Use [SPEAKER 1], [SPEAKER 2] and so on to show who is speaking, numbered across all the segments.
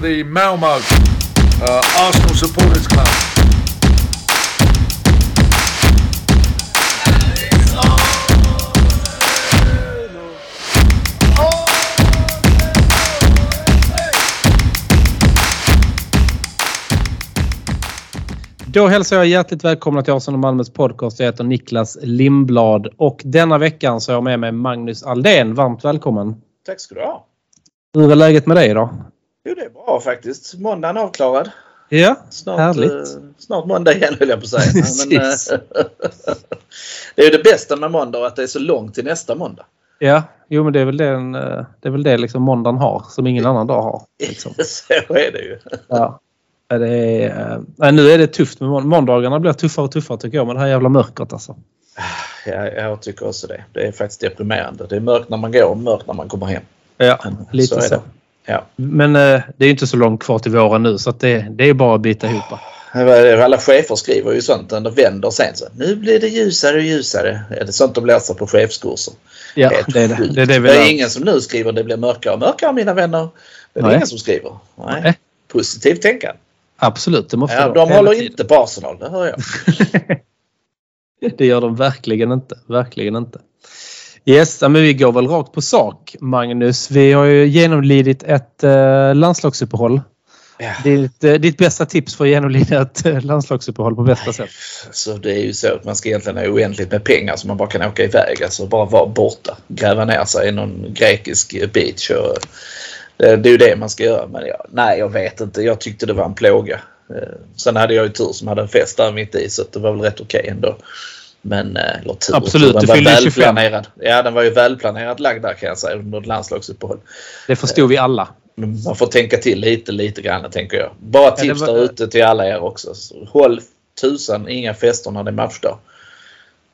[SPEAKER 1] the Malmo uh, Arsenal Supporters Club.
[SPEAKER 2] Då hälsar jag hjärtligt välkomna till Arsenal Malmös podcast. Jag heter Niklas Lindblad och denna veckan så har jag med mig Magnus Aldén. Varmt välkommen!
[SPEAKER 3] Tack ska du ha.
[SPEAKER 2] Hur är läget med dig idag?
[SPEAKER 3] Jo, det är bra faktiskt. Måndagen avklarad.
[SPEAKER 2] Ja,
[SPEAKER 3] Snart,
[SPEAKER 2] härligt.
[SPEAKER 3] eh, snart måndag igen höll jag på att säga. Men, eh,
[SPEAKER 2] Precis.
[SPEAKER 3] det är ju det bästa med måndag att det är så långt till nästa måndag.
[SPEAKER 2] Ja, jo men det är väl det, en, eh, det, är väl det liksom måndagen har som ingen annan dag har. Liksom.
[SPEAKER 3] så är det ju.
[SPEAKER 2] Ja. Ja, Det är, eh, nej, nu är det tufft. Med månd- måndagarna blir tuffare och tuffare tycker jag med det här jävla mörkret alltså.
[SPEAKER 3] Jag, jag tycker också det. Det är faktiskt deprimerande. Det är mörkt när man går och mörkt när man kommer hem.
[SPEAKER 2] Ja,
[SPEAKER 3] Men
[SPEAKER 2] lite
[SPEAKER 3] så är
[SPEAKER 2] så.
[SPEAKER 3] det. Ja.
[SPEAKER 2] Men eh, det är ju inte så långt kvar till våren nu så att det, det är bara att bita ihop.
[SPEAKER 3] Det var det. Alla chefer skriver ju sånt när de vänder sen. Så, nu blir det ljusare och ljusare. Är det sånt de läser på chefskurser?
[SPEAKER 2] Ja,
[SPEAKER 3] Helt
[SPEAKER 2] det är det.
[SPEAKER 3] sjukt.
[SPEAKER 2] Det är det vi
[SPEAKER 3] Det
[SPEAKER 2] lär-
[SPEAKER 3] är ingen som nu skriver det blir mörkare och mörkare mina vänner. Det är
[SPEAKER 2] Nej.
[SPEAKER 3] ingen som skriver. Nej.
[SPEAKER 2] Nej.
[SPEAKER 3] Positivt tänkande.
[SPEAKER 2] Absolut, det måste
[SPEAKER 3] Ja,
[SPEAKER 2] vara
[SPEAKER 3] de
[SPEAKER 2] hela
[SPEAKER 3] håller
[SPEAKER 2] tiden.
[SPEAKER 3] inte på Arsenal, det hör jag.
[SPEAKER 2] Det gör de verkligen inte. Verkligen inte. Yes, ja, men vi går väl rakt på sak, Magnus. Vi har ju genomlidit ett eh, landslagsuppehåll.
[SPEAKER 3] Ja.
[SPEAKER 2] Ditt, eh, ditt bästa tips för att genomlida ett eh, landslagsuppehåll på bästa sätt?
[SPEAKER 3] Så det är ju så att man ska egentligen ha oändligt med pengar så man bara kan åka iväg. Alltså bara vara borta. Gräva ner sig i någon grekisk beach. Och det, det är ju det man ska göra. Men jag, nej, jag vet inte. Jag tyckte det var en plåga. Eh, Sen hade jag ju tur som hade en fest där mitt i så att det var väl rätt okej ändå. Men, eh, eller tur,
[SPEAKER 2] Absolut,
[SPEAKER 3] den
[SPEAKER 2] du
[SPEAKER 3] var
[SPEAKER 2] fyllde ju 25.
[SPEAKER 3] välplanerad. Ja, den var ju välplanerat lagd där kan jag säga under ett landslagsuppehåll.
[SPEAKER 2] Det förstod vi alla.
[SPEAKER 3] Men man får tänka till lite, lite grann tänker jag. Bara
[SPEAKER 2] det
[SPEAKER 3] tips
[SPEAKER 2] var-
[SPEAKER 3] där ute till alla er också. Så Håll tusan inga fester när det är matchdag.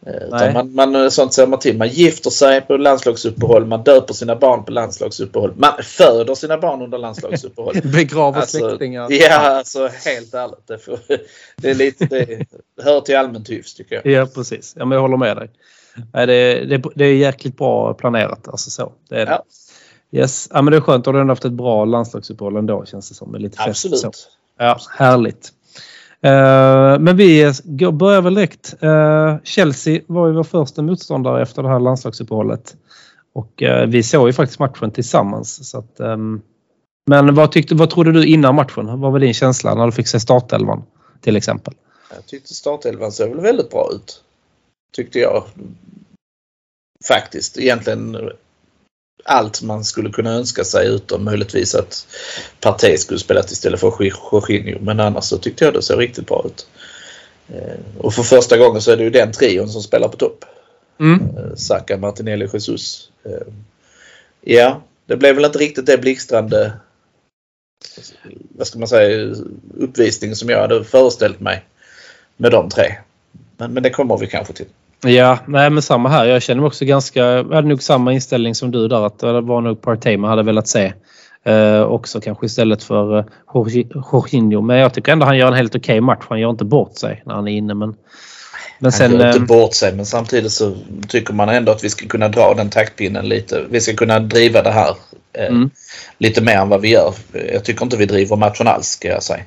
[SPEAKER 3] Eh,
[SPEAKER 2] Nej.
[SPEAKER 3] Utan man, man, sånt ser man till. Man gifter sig på landslagsuppehåll, man döper sina barn på landslagsuppehåll, man föder sina barn under landslagsuppehåll.
[SPEAKER 2] Begrava
[SPEAKER 3] Alltså,
[SPEAKER 2] släktingar.
[SPEAKER 3] Ja, alltså helt ärligt. Det, får, det, är lite, det hör till allmänt hyfs tycker jag.
[SPEAKER 2] Ja, precis. Ja, men jag håller med dig. Nej, det, det, det är jäkligt bra planerat. Alltså så. Det är det.
[SPEAKER 3] Ja,
[SPEAKER 2] Yes. Ja, men det är skönt. Har du ändå haft ett bra landslagsuppehåll ändå känns det som. Med lite fest och så.
[SPEAKER 3] absolut.
[SPEAKER 2] Ja, härligt. Eh, men vi går- börjar väl direkt. Eh, Chelsea var ju vår första motståndare efter det här landslagsuppehållet. Och eh, vi såg ju faktiskt matchen tillsammans. Så att, ehm, men vad, tyckte, vad trodde du innan matchen? Vad var din känsla när du fick se startelvan till exempel?
[SPEAKER 3] Jag tyckte startelvan såg väl väldigt bra ut. Tyckte jag. Faktiskt. Egentligen allt man skulle kunna önska sig utom möjligtvis att Partey skulle spela istället för Jorginho. Men annars så tyckte jag det såg riktigt bra ut. Eh, Och för första gången så är det ju den trion som spelar på topp. Eh, Saka, Martinelli, Jesus. Eh, Ja, det blev väl inte riktigt det blixtrande vad ska man säga, uppvisning som jag hade föreställt mig med de tre. Men, men det kommer vi kanske till.
[SPEAKER 2] Ja, nej men samma här. Jag känner mig också ganska... Jag hade nog samma inställning som du där. Att det var nog Partey man hade velat se. Eh, också kanske istället för eh, Jorgi- Jorginho. Men jag tycker ändå han gör en helt okej match. Han gör inte bort sig när han är inne. Men, men
[SPEAKER 3] Han
[SPEAKER 2] sen...
[SPEAKER 3] gör inte
[SPEAKER 2] eh,
[SPEAKER 3] bort sig men samtidigt så tycker man ändå att vi ska kunna dra den taktpinnen lite. Vi ska kunna driva det här eh,
[SPEAKER 2] Mm.
[SPEAKER 3] lite mer än vad vi gör. Jag tycker inte vi driver matchen alls ska jag säga.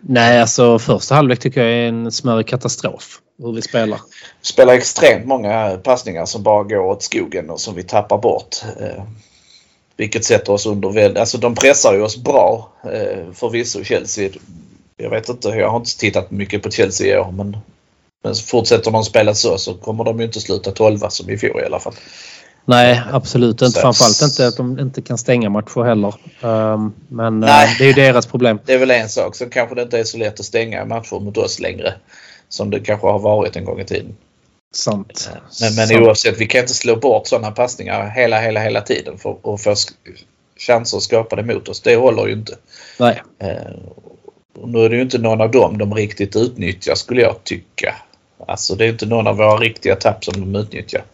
[SPEAKER 2] nej, alltså första halvlek tycker jag är en smörre katastrof. Hur vi spelar.
[SPEAKER 3] Spelar extremt många passningar som bara går åt skogen och som vi tappar bort. Eh, vilket sätter oss under väl- Alltså de pressar ju oss bra eh, förvisso Chelsea. Jag vet inte, jag har inte tittat mycket på Chelsea i år men, men fortsätter de spela så så kommer de ju inte sluta 12 som i fjol i alla fall.
[SPEAKER 2] Nej, absolut inte.
[SPEAKER 3] Så-
[SPEAKER 2] Framförallt inte att de inte kan stänga matcher heller. Ehm, men eh,
[SPEAKER 3] Nej.
[SPEAKER 2] det är ju deras problem.
[SPEAKER 3] Det är väl en sak. Sen kanske det inte är så lätt att stänga matcher mot oss längre. Som det kanske har varit en gång i tiden.
[SPEAKER 2] Sant.
[SPEAKER 3] Men,
[SPEAKER 2] Sant.
[SPEAKER 3] men oavsett, vi kan inte slå bort sådana passningar hela, hela, hela tiden för att få sk- chanser skapade mot oss. Det håller ju inte.
[SPEAKER 2] Nej.
[SPEAKER 3] Eh, och nu är det ju inte någon av dem de riktigt utnyttjar skulle jag tycka. Alltså det är inte någon av våra riktiga tapp som de utnyttjar.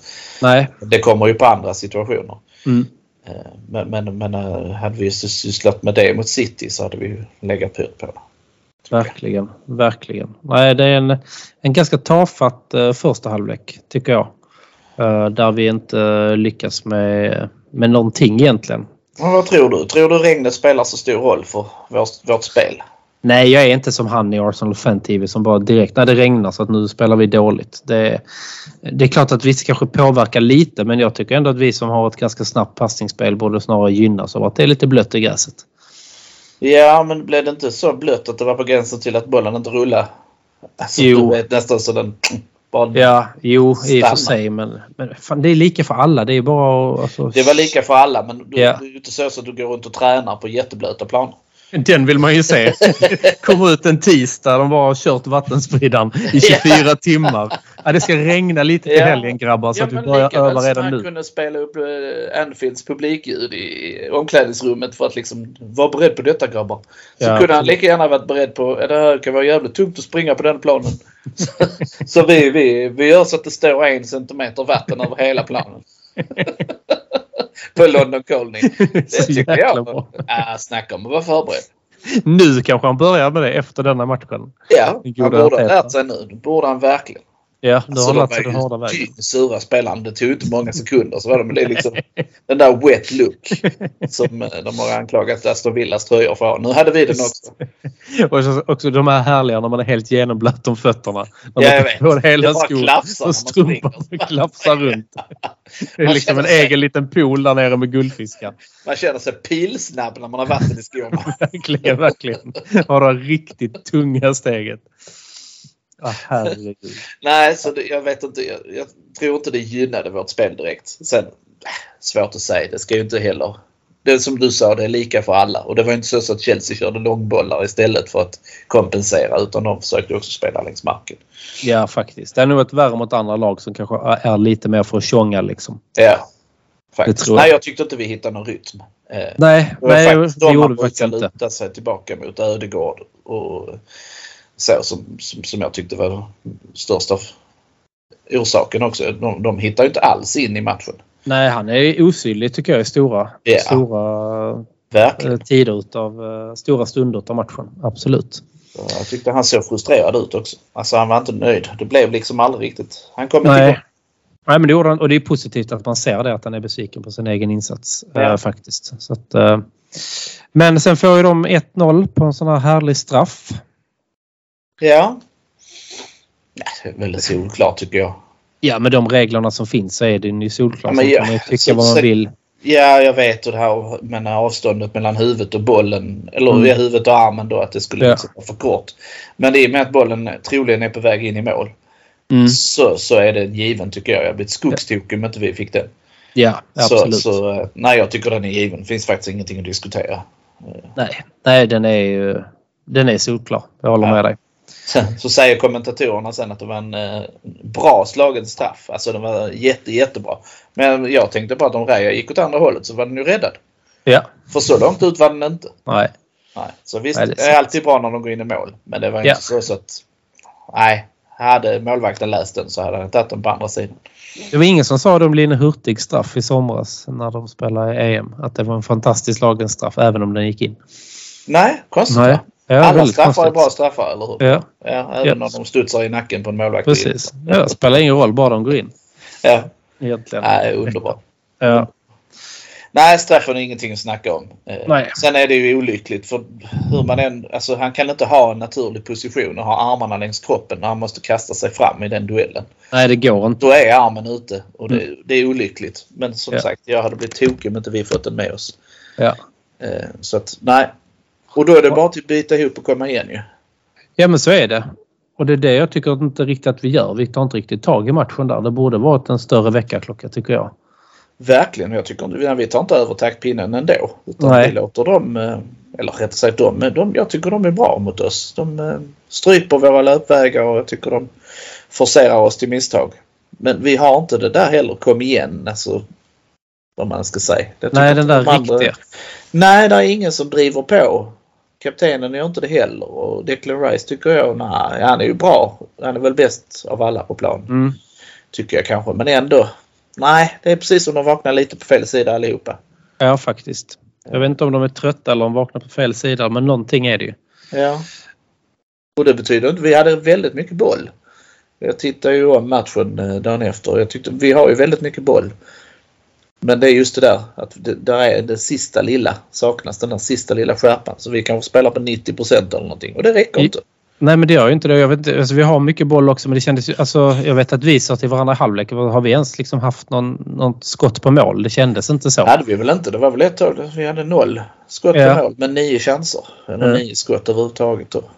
[SPEAKER 2] Nej.
[SPEAKER 3] Det kommer ju på andra situationer.
[SPEAKER 2] Mm.
[SPEAKER 3] Eh, Men, men, men eh, hade vi sysslat med det mot City så hade vi ju legat pyrt på det.
[SPEAKER 2] Verkligen, verkligen. Nej, det är en, en ganska tafatt eh, första halvlek eh, tycker jag. Eh, där vi inte lyckas med, med någonting egentligen.
[SPEAKER 3] Men vad tror du? Tror du regnet spelar så stor roll för vårt, vårt spel?
[SPEAKER 2] Nej, jag är inte som han i Arsenal Fan TV som bara direkt när det regnar så att nu spelar vi dåligt. Det, det är klart att vissa kanske påverkar lite men jag tycker ändå att vi som har ett ganska snabbt passningsspel borde snarare gynnas av att det är lite blött i gräset.
[SPEAKER 3] Ja, men blev det inte så blött att det var på gränsen till att bollen inte rullade? Alltså,
[SPEAKER 2] Jo.
[SPEAKER 3] Du vet, nästan så den bara
[SPEAKER 2] Ja, jo i och
[SPEAKER 3] Stanna.
[SPEAKER 2] för sig men, men fan, det är lika för alla. Det är bara att- alltså,
[SPEAKER 3] Det var lika för alla men du,
[SPEAKER 2] Ja.
[SPEAKER 3] det är ju inte så att du går runt och tränar på jätteblöta planer.
[SPEAKER 2] Den vill man ju se. Komma ut en tisdag, de bara har kört vattenspridaren i 24 timmar. Ja, det ska regna lite till
[SPEAKER 3] Ja.
[SPEAKER 2] helgen grabbar så Alltså att vi börjar öva redan
[SPEAKER 3] han
[SPEAKER 2] nu.
[SPEAKER 3] kunde spela upp eh, Anfields publikljud i omklädningsrummet för att liksom vara beredd på detta grabbar. Så
[SPEAKER 2] Ja,
[SPEAKER 3] kunde han
[SPEAKER 2] absolut.
[SPEAKER 3] lika gärna varit beredd på att det här kan vara jävligt tungt att springa på den planen. så så vi, vi, vi gör så att det står en centimeter vatten över hela planen. på London Colney. Det
[SPEAKER 2] Så
[SPEAKER 3] tycker
[SPEAKER 2] jäkla
[SPEAKER 3] jag.
[SPEAKER 2] bra.
[SPEAKER 3] Ja, snacka om att vara förberedd.
[SPEAKER 2] Nu kanske han börjar med det efter denna matchen.
[SPEAKER 3] Ja,
[SPEAKER 2] Det
[SPEAKER 3] han
[SPEAKER 2] gjorde
[SPEAKER 3] borde ha
[SPEAKER 2] Arteta.
[SPEAKER 3] lärt sig nu. Det borde han verkligen.
[SPEAKER 2] Ja, nu har
[SPEAKER 3] Så
[SPEAKER 2] han lärt
[SPEAKER 3] Alltså, de
[SPEAKER 2] sig den
[SPEAKER 3] var
[SPEAKER 2] hårda
[SPEAKER 3] ju
[SPEAKER 2] vägen.
[SPEAKER 3] tynn, sura spelaren. Det tog inte många sekunder så var de liksom den där wet look som eh, de har anklagat Aston Villas tröjor för. att ha. Nu hade vi den också.
[SPEAKER 2] Och så, också de här härliga när man är helt genomblött om fötterna. Man
[SPEAKER 3] Ja, jag
[SPEAKER 2] har
[SPEAKER 3] vet.
[SPEAKER 2] på sig
[SPEAKER 3] Det
[SPEAKER 2] hela
[SPEAKER 3] bara
[SPEAKER 2] skon
[SPEAKER 3] klafsar när man
[SPEAKER 2] och strumpan
[SPEAKER 3] springer.
[SPEAKER 2] klafsar runt. Det är
[SPEAKER 3] Man
[SPEAKER 2] liksom en
[SPEAKER 3] känner sig-
[SPEAKER 2] egen liten pool där nere med guldfiskar.
[SPEAKER 3] Man känner sig pilsnabb när man har vatten i skorna.
[SPEAKER 2] Verkligen, verkligen. Har det riktigt tunga steget. Ah, herregud.
[SPEAKER 3] Nej, så det, jag vet inte. Jag, jag tror inte det gynnade vårt spel direkt. Sen, äh, svårt att säga. Det ska ju inte heller... Det är som du sa, det är lika för alla. Och det var ju inte så, så att Chelsea körde långbollar istället för att kompensera utan de försökte också spela längs marken.
[SPEAKER 2] Ja, faktiskt. Det är nog varit värre mot andra lag som kanske är lite mer för att tjonga liksom.
[SPEAKER 3] Ja, faktiskt.
[SPEAKER 2] Det tror jag.
[SPEAKER 3] Nej, jag tyckte inte vi hittade någon rytm. Eh,
[SPEAKER 2] Nej,
[SPEAKER 3] Det var
[SPEAKER 2] nej
[SPEAKER 3] faktiskt
[SPEAKER 2] det
[SPEAKER 3] de
[SPEAKER 2] gjorde
[SPEAKER 3] man
[SPEAKER 2] vi faktiskt
[SPEAKER 3] brukar
[SPEAKER 2] inte.
[SPEAKER 3] luta sig tillbaka mot Ödegård och så som, som, som jag tyckte var största f- orsaken också. De, de hittar ju inte alls in i matchen.
[SPEAKER 2] Nej, han är osynlig tycker jag i stora,
[SPEAKER 3] Ja.
[SPEAKER 2] stora
[SPEAKER 3] Verkligen.
[SPEAKER 2] eh, tider utav, eh, stora stunder utav matchen. Absolut.
[SPEAKER 3] Och Jag tyckte han såg frustrerad ut också. Alltså han var inte nöjd. Det blev liksom aldrig riktigt. Han kom inte
[SPEAKER 2] Nej.
[SPEAKER 3] igång.
[SPEAKER 2] Nej, men det gjorde han och det är positivt att man ser det att han är besviken på sin egen insats
[SPEAKER 3] Ja.
[SPEAKER 2] eh, faktiskt. Så att, eh, men sen får ju de 1-0 på en sån här härlig straff.
[SPEAKER 3] Ja. Nej, det är väldigt solklart tycker jag.
[SPEAKER 2] Ja, med de reglerna som finns så är det ju solklart.
[SPEAKER 3] Ja, men
[SPEAKER 2] Sen
[SPEAKER 3] ja,
[SPEAKER 2] kan man ju
[SPEAKER 3] så-
[SPEAKER 2] tycka vad
[SPEAKER 3] så-
[SPEAKER 2] man vill.
[SPEAKER 3] Ja, jag vet hur det här men avståndet mellan huvudet och bollen, eller
[SPEAKER 2] Mm.
[SPEAKER 3] mm. huvudet och armen då, att det skulle
[SPEAKER 2] Ja.
[SPEAKER 3] liksom vara för kort. Men i och med att bollen troligen är på väg in i mål
[SPEAKER 2] Mm.
[SPEAKER 3] så, så är det given tycker jag. Jag blir skogstokig om inte vi fick den.
[SPEAKER 2] Ja,
[SPEAKER 3] Så,
[SPEAKER 2] absolut.
[SPEAKER 3] så eh, nej, jag tycker den är given. Det finns faktiskt ingenting att diskutera.
[SPEAKER 2] Nej, nej den, är ju, den är solklar. Jag håller
[SPEAKER 3] Ja.
[SPEAKER 2] med dig.
[SPEAKER 3] Sen så säger kommentatorerna sen att det var en eh, bra slagen straff. Alltså den var jätte, jättebra. Men jag tänkte bara att om Raja gick åt andra hållet så var den ju räddad.
[SPEAKER 2] Ja,
[SPEAKER 3] För så långt ut var den inte.
[SPEAKER 2] nej.
[SPEAKER 3] Nej, så visst,
[SPEAKER 2] Nej, det
[SPEAKER 3] det
[SPEAKER 2] är
[SPEAKER 3] är, alltid bra när de går in i mål. Men det var
[SPEAKER 2] Ja.
[SPEAKER 3] inte så, så att... Nej, hade målvakten läst den så hade han tagit den på andra sidan.
[SPEAKER 2] Det var ingen som sa det om Line Hurtigs straff i somras när de spelade i EM. Att det var en fantastisk lagens straff även om den gick in.
[SPEAKER 3] Nej, konstigt
[SPEAKER 2] Nej.
[SPEAKER 3] va?
[SPEAKER 2] Ja,
[SPEAKER 3] Alla
[SPEAKER 2] väldigt
[SPEAKER 3] straffar är
[SPEAKER 2] konstigt.
[SPEAKER 3] bra straffar, eller hur? Ja.
[SPEAKER 2] Ja,
[SPEAKER 3] även
[SPEAKER 2] Ja.
[SPEAKER 3] om de studsar i nacken på en målvakt.
[SPEAKER 2] precis. Ja, det spelar ingen roll bara de går in.
[SPEAKER 3] Ja,
[SPEAKER 2] Egentligen.
[SPEAKER 3] nej, underbart.
[SPEAKER 2] Ja.
[SPEAKER 3] Nej, straffen är ingenting att snacka om. Eh,
[SPEAKER 2] Nej.
[SPEAKER 3] Sen är det ju olyckligt för hur man än... Alltså han kan inte ha en naturlig position och ha armarna längs kroppen när han måste kasta sig fram i den duellen.
[SPEAKER 2] Nej, det går inte.
[SPEAKER 3] Då är armen ute och det, det är olyckligt. Men som
[SPEAKER 2] Mm. Ja.
[SPEAKER 3] sagt, jag hade blivit tokig om inte vi fått den med oss.
[SPEAKER 2] Ja.
[SPEAKER 3] Eh, Så att nej. Och då är det bara till att bita ihop och komma igen ju.
[SPEAKER 2] ja, men så är det. Och det är det jag tycker inte riktigt att vi gör. Vi tar inte riktigt tag i matchen där. Det borde varit en större väckarklocka tycker jag.
[SPEAKER 3] Verkligen. Jag tycker inte, vi tar inte över taktpinnen ändå. Utan
[SPEAKER 2] Nej.
[SPEAKER 3] vi låter dem, eh, eller rättare sagt dem, men de, jag tycker de är bra mot oss. De eh, stryper våra löpvägar och jag tycker de forcerar oss till misstag. Men vi har inte det där heller, kom igen, alltså. Vad man ska säga. Det tycker
[SPEAKER 2] Nej,
[SPEAKER 3] inte
[SPEAKER 2] den där
[SPEAKER 3] de andra-
[SPEAKER 2] riktiga.
[SPEAKER 3] Nej, det är ingen som driver på. Kaptenen gör inte det heller och Declan Rice tycker jag, nej, han är ju bra. Han är väl bäst av alla på plan,
[SPEAKER 2] Mm.
[SPEAKER 3] tycker jag kanske. Men ändå, nej, det är precis som de vaknar lite på fel sida allihopa.
[SPEAKER 2] Ja, faktiskt. Jag vet inte om de är trötta eller om de vaknar på fel sida, men någonting är det ju.
[SPEAKER 3] Ja. Och det betyder inte, vi hade väldigt mycket boll. Jag tittade ju om matchen eh, dagen efter och jag tyckte vi har ju väldigt mycket boll. Men det är just det där att det, där är det sista lilla saknas, den där sista lilla skärpan. Så vi kanske spelar på 90 procent eller någonting och det räcker
[SPEAKER 2] I-
[SPEAKER 3] inte.
[SPEAKER 2] Nej, men det gör ju inte det. Jag vet, inte- alltså, vi har mycket boll också, men det kändes ju, alltså, jag vet att vi sa till varandra i halvlek, har vi ens liksom haft någon, något skott på mål? Det kändes inte så.
[SPEAKER 3] hade vi väl inte. Det var väl ett tag vi hade noll skott på
[SPEAKER 2] Ja.
[SPEAKER 3] mål men nio chanser. Eller
[SPEAKER 2] Mm.
[SPEAKER 3] nio skott överhuvudtaget. Och,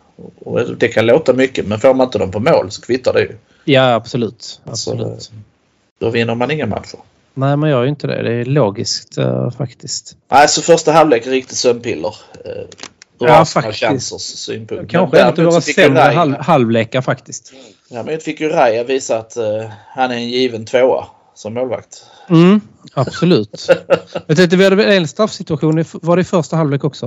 [SPEAKER 3] och det kan låta mycket men får man inte dem på mål så kvittar det ju.
[SPEAKER 2] Ja, absolut.
[SPEAKER 3] Så,
[SPEAKER 2] absolut.
[SPEAKER 3] Då vinner man inga matcher.
[SPEAKER 2] Nej, man gör ju inte det. Det är logiskt eh, faktiskt.
[SPEAKER 3] Nej, så första halvlek är riktigt sömnpiller. eh, Ur
[SPEAKER 2] Ja,
[SPEAKER 3] Arsenal
[SPEAKER 2] faktiskt.
[SPEAKER 3] chansers synpunkt.
[SPEAKER 2] Kanske
[SPEAKER 3] Men
[SPEAKER 2] en av
[SPEAKER 3] däremot
[SPEAKER 2] våra
[SPEAKER 3] så fick ju
[SPEAKER 2] sämre
[SPEAKER 3] Raja-
[SPEAKER 2] halv, halvlekar faktiskt.
[SPEAKER 3] Däremot fick ju Raja visa att eh, han är en given tvåa som målvakt.
[SPEAKER 2] Mm, absolut. jag tänkte, vi hade väl en straffsituation. i- Var det i första halvlek också?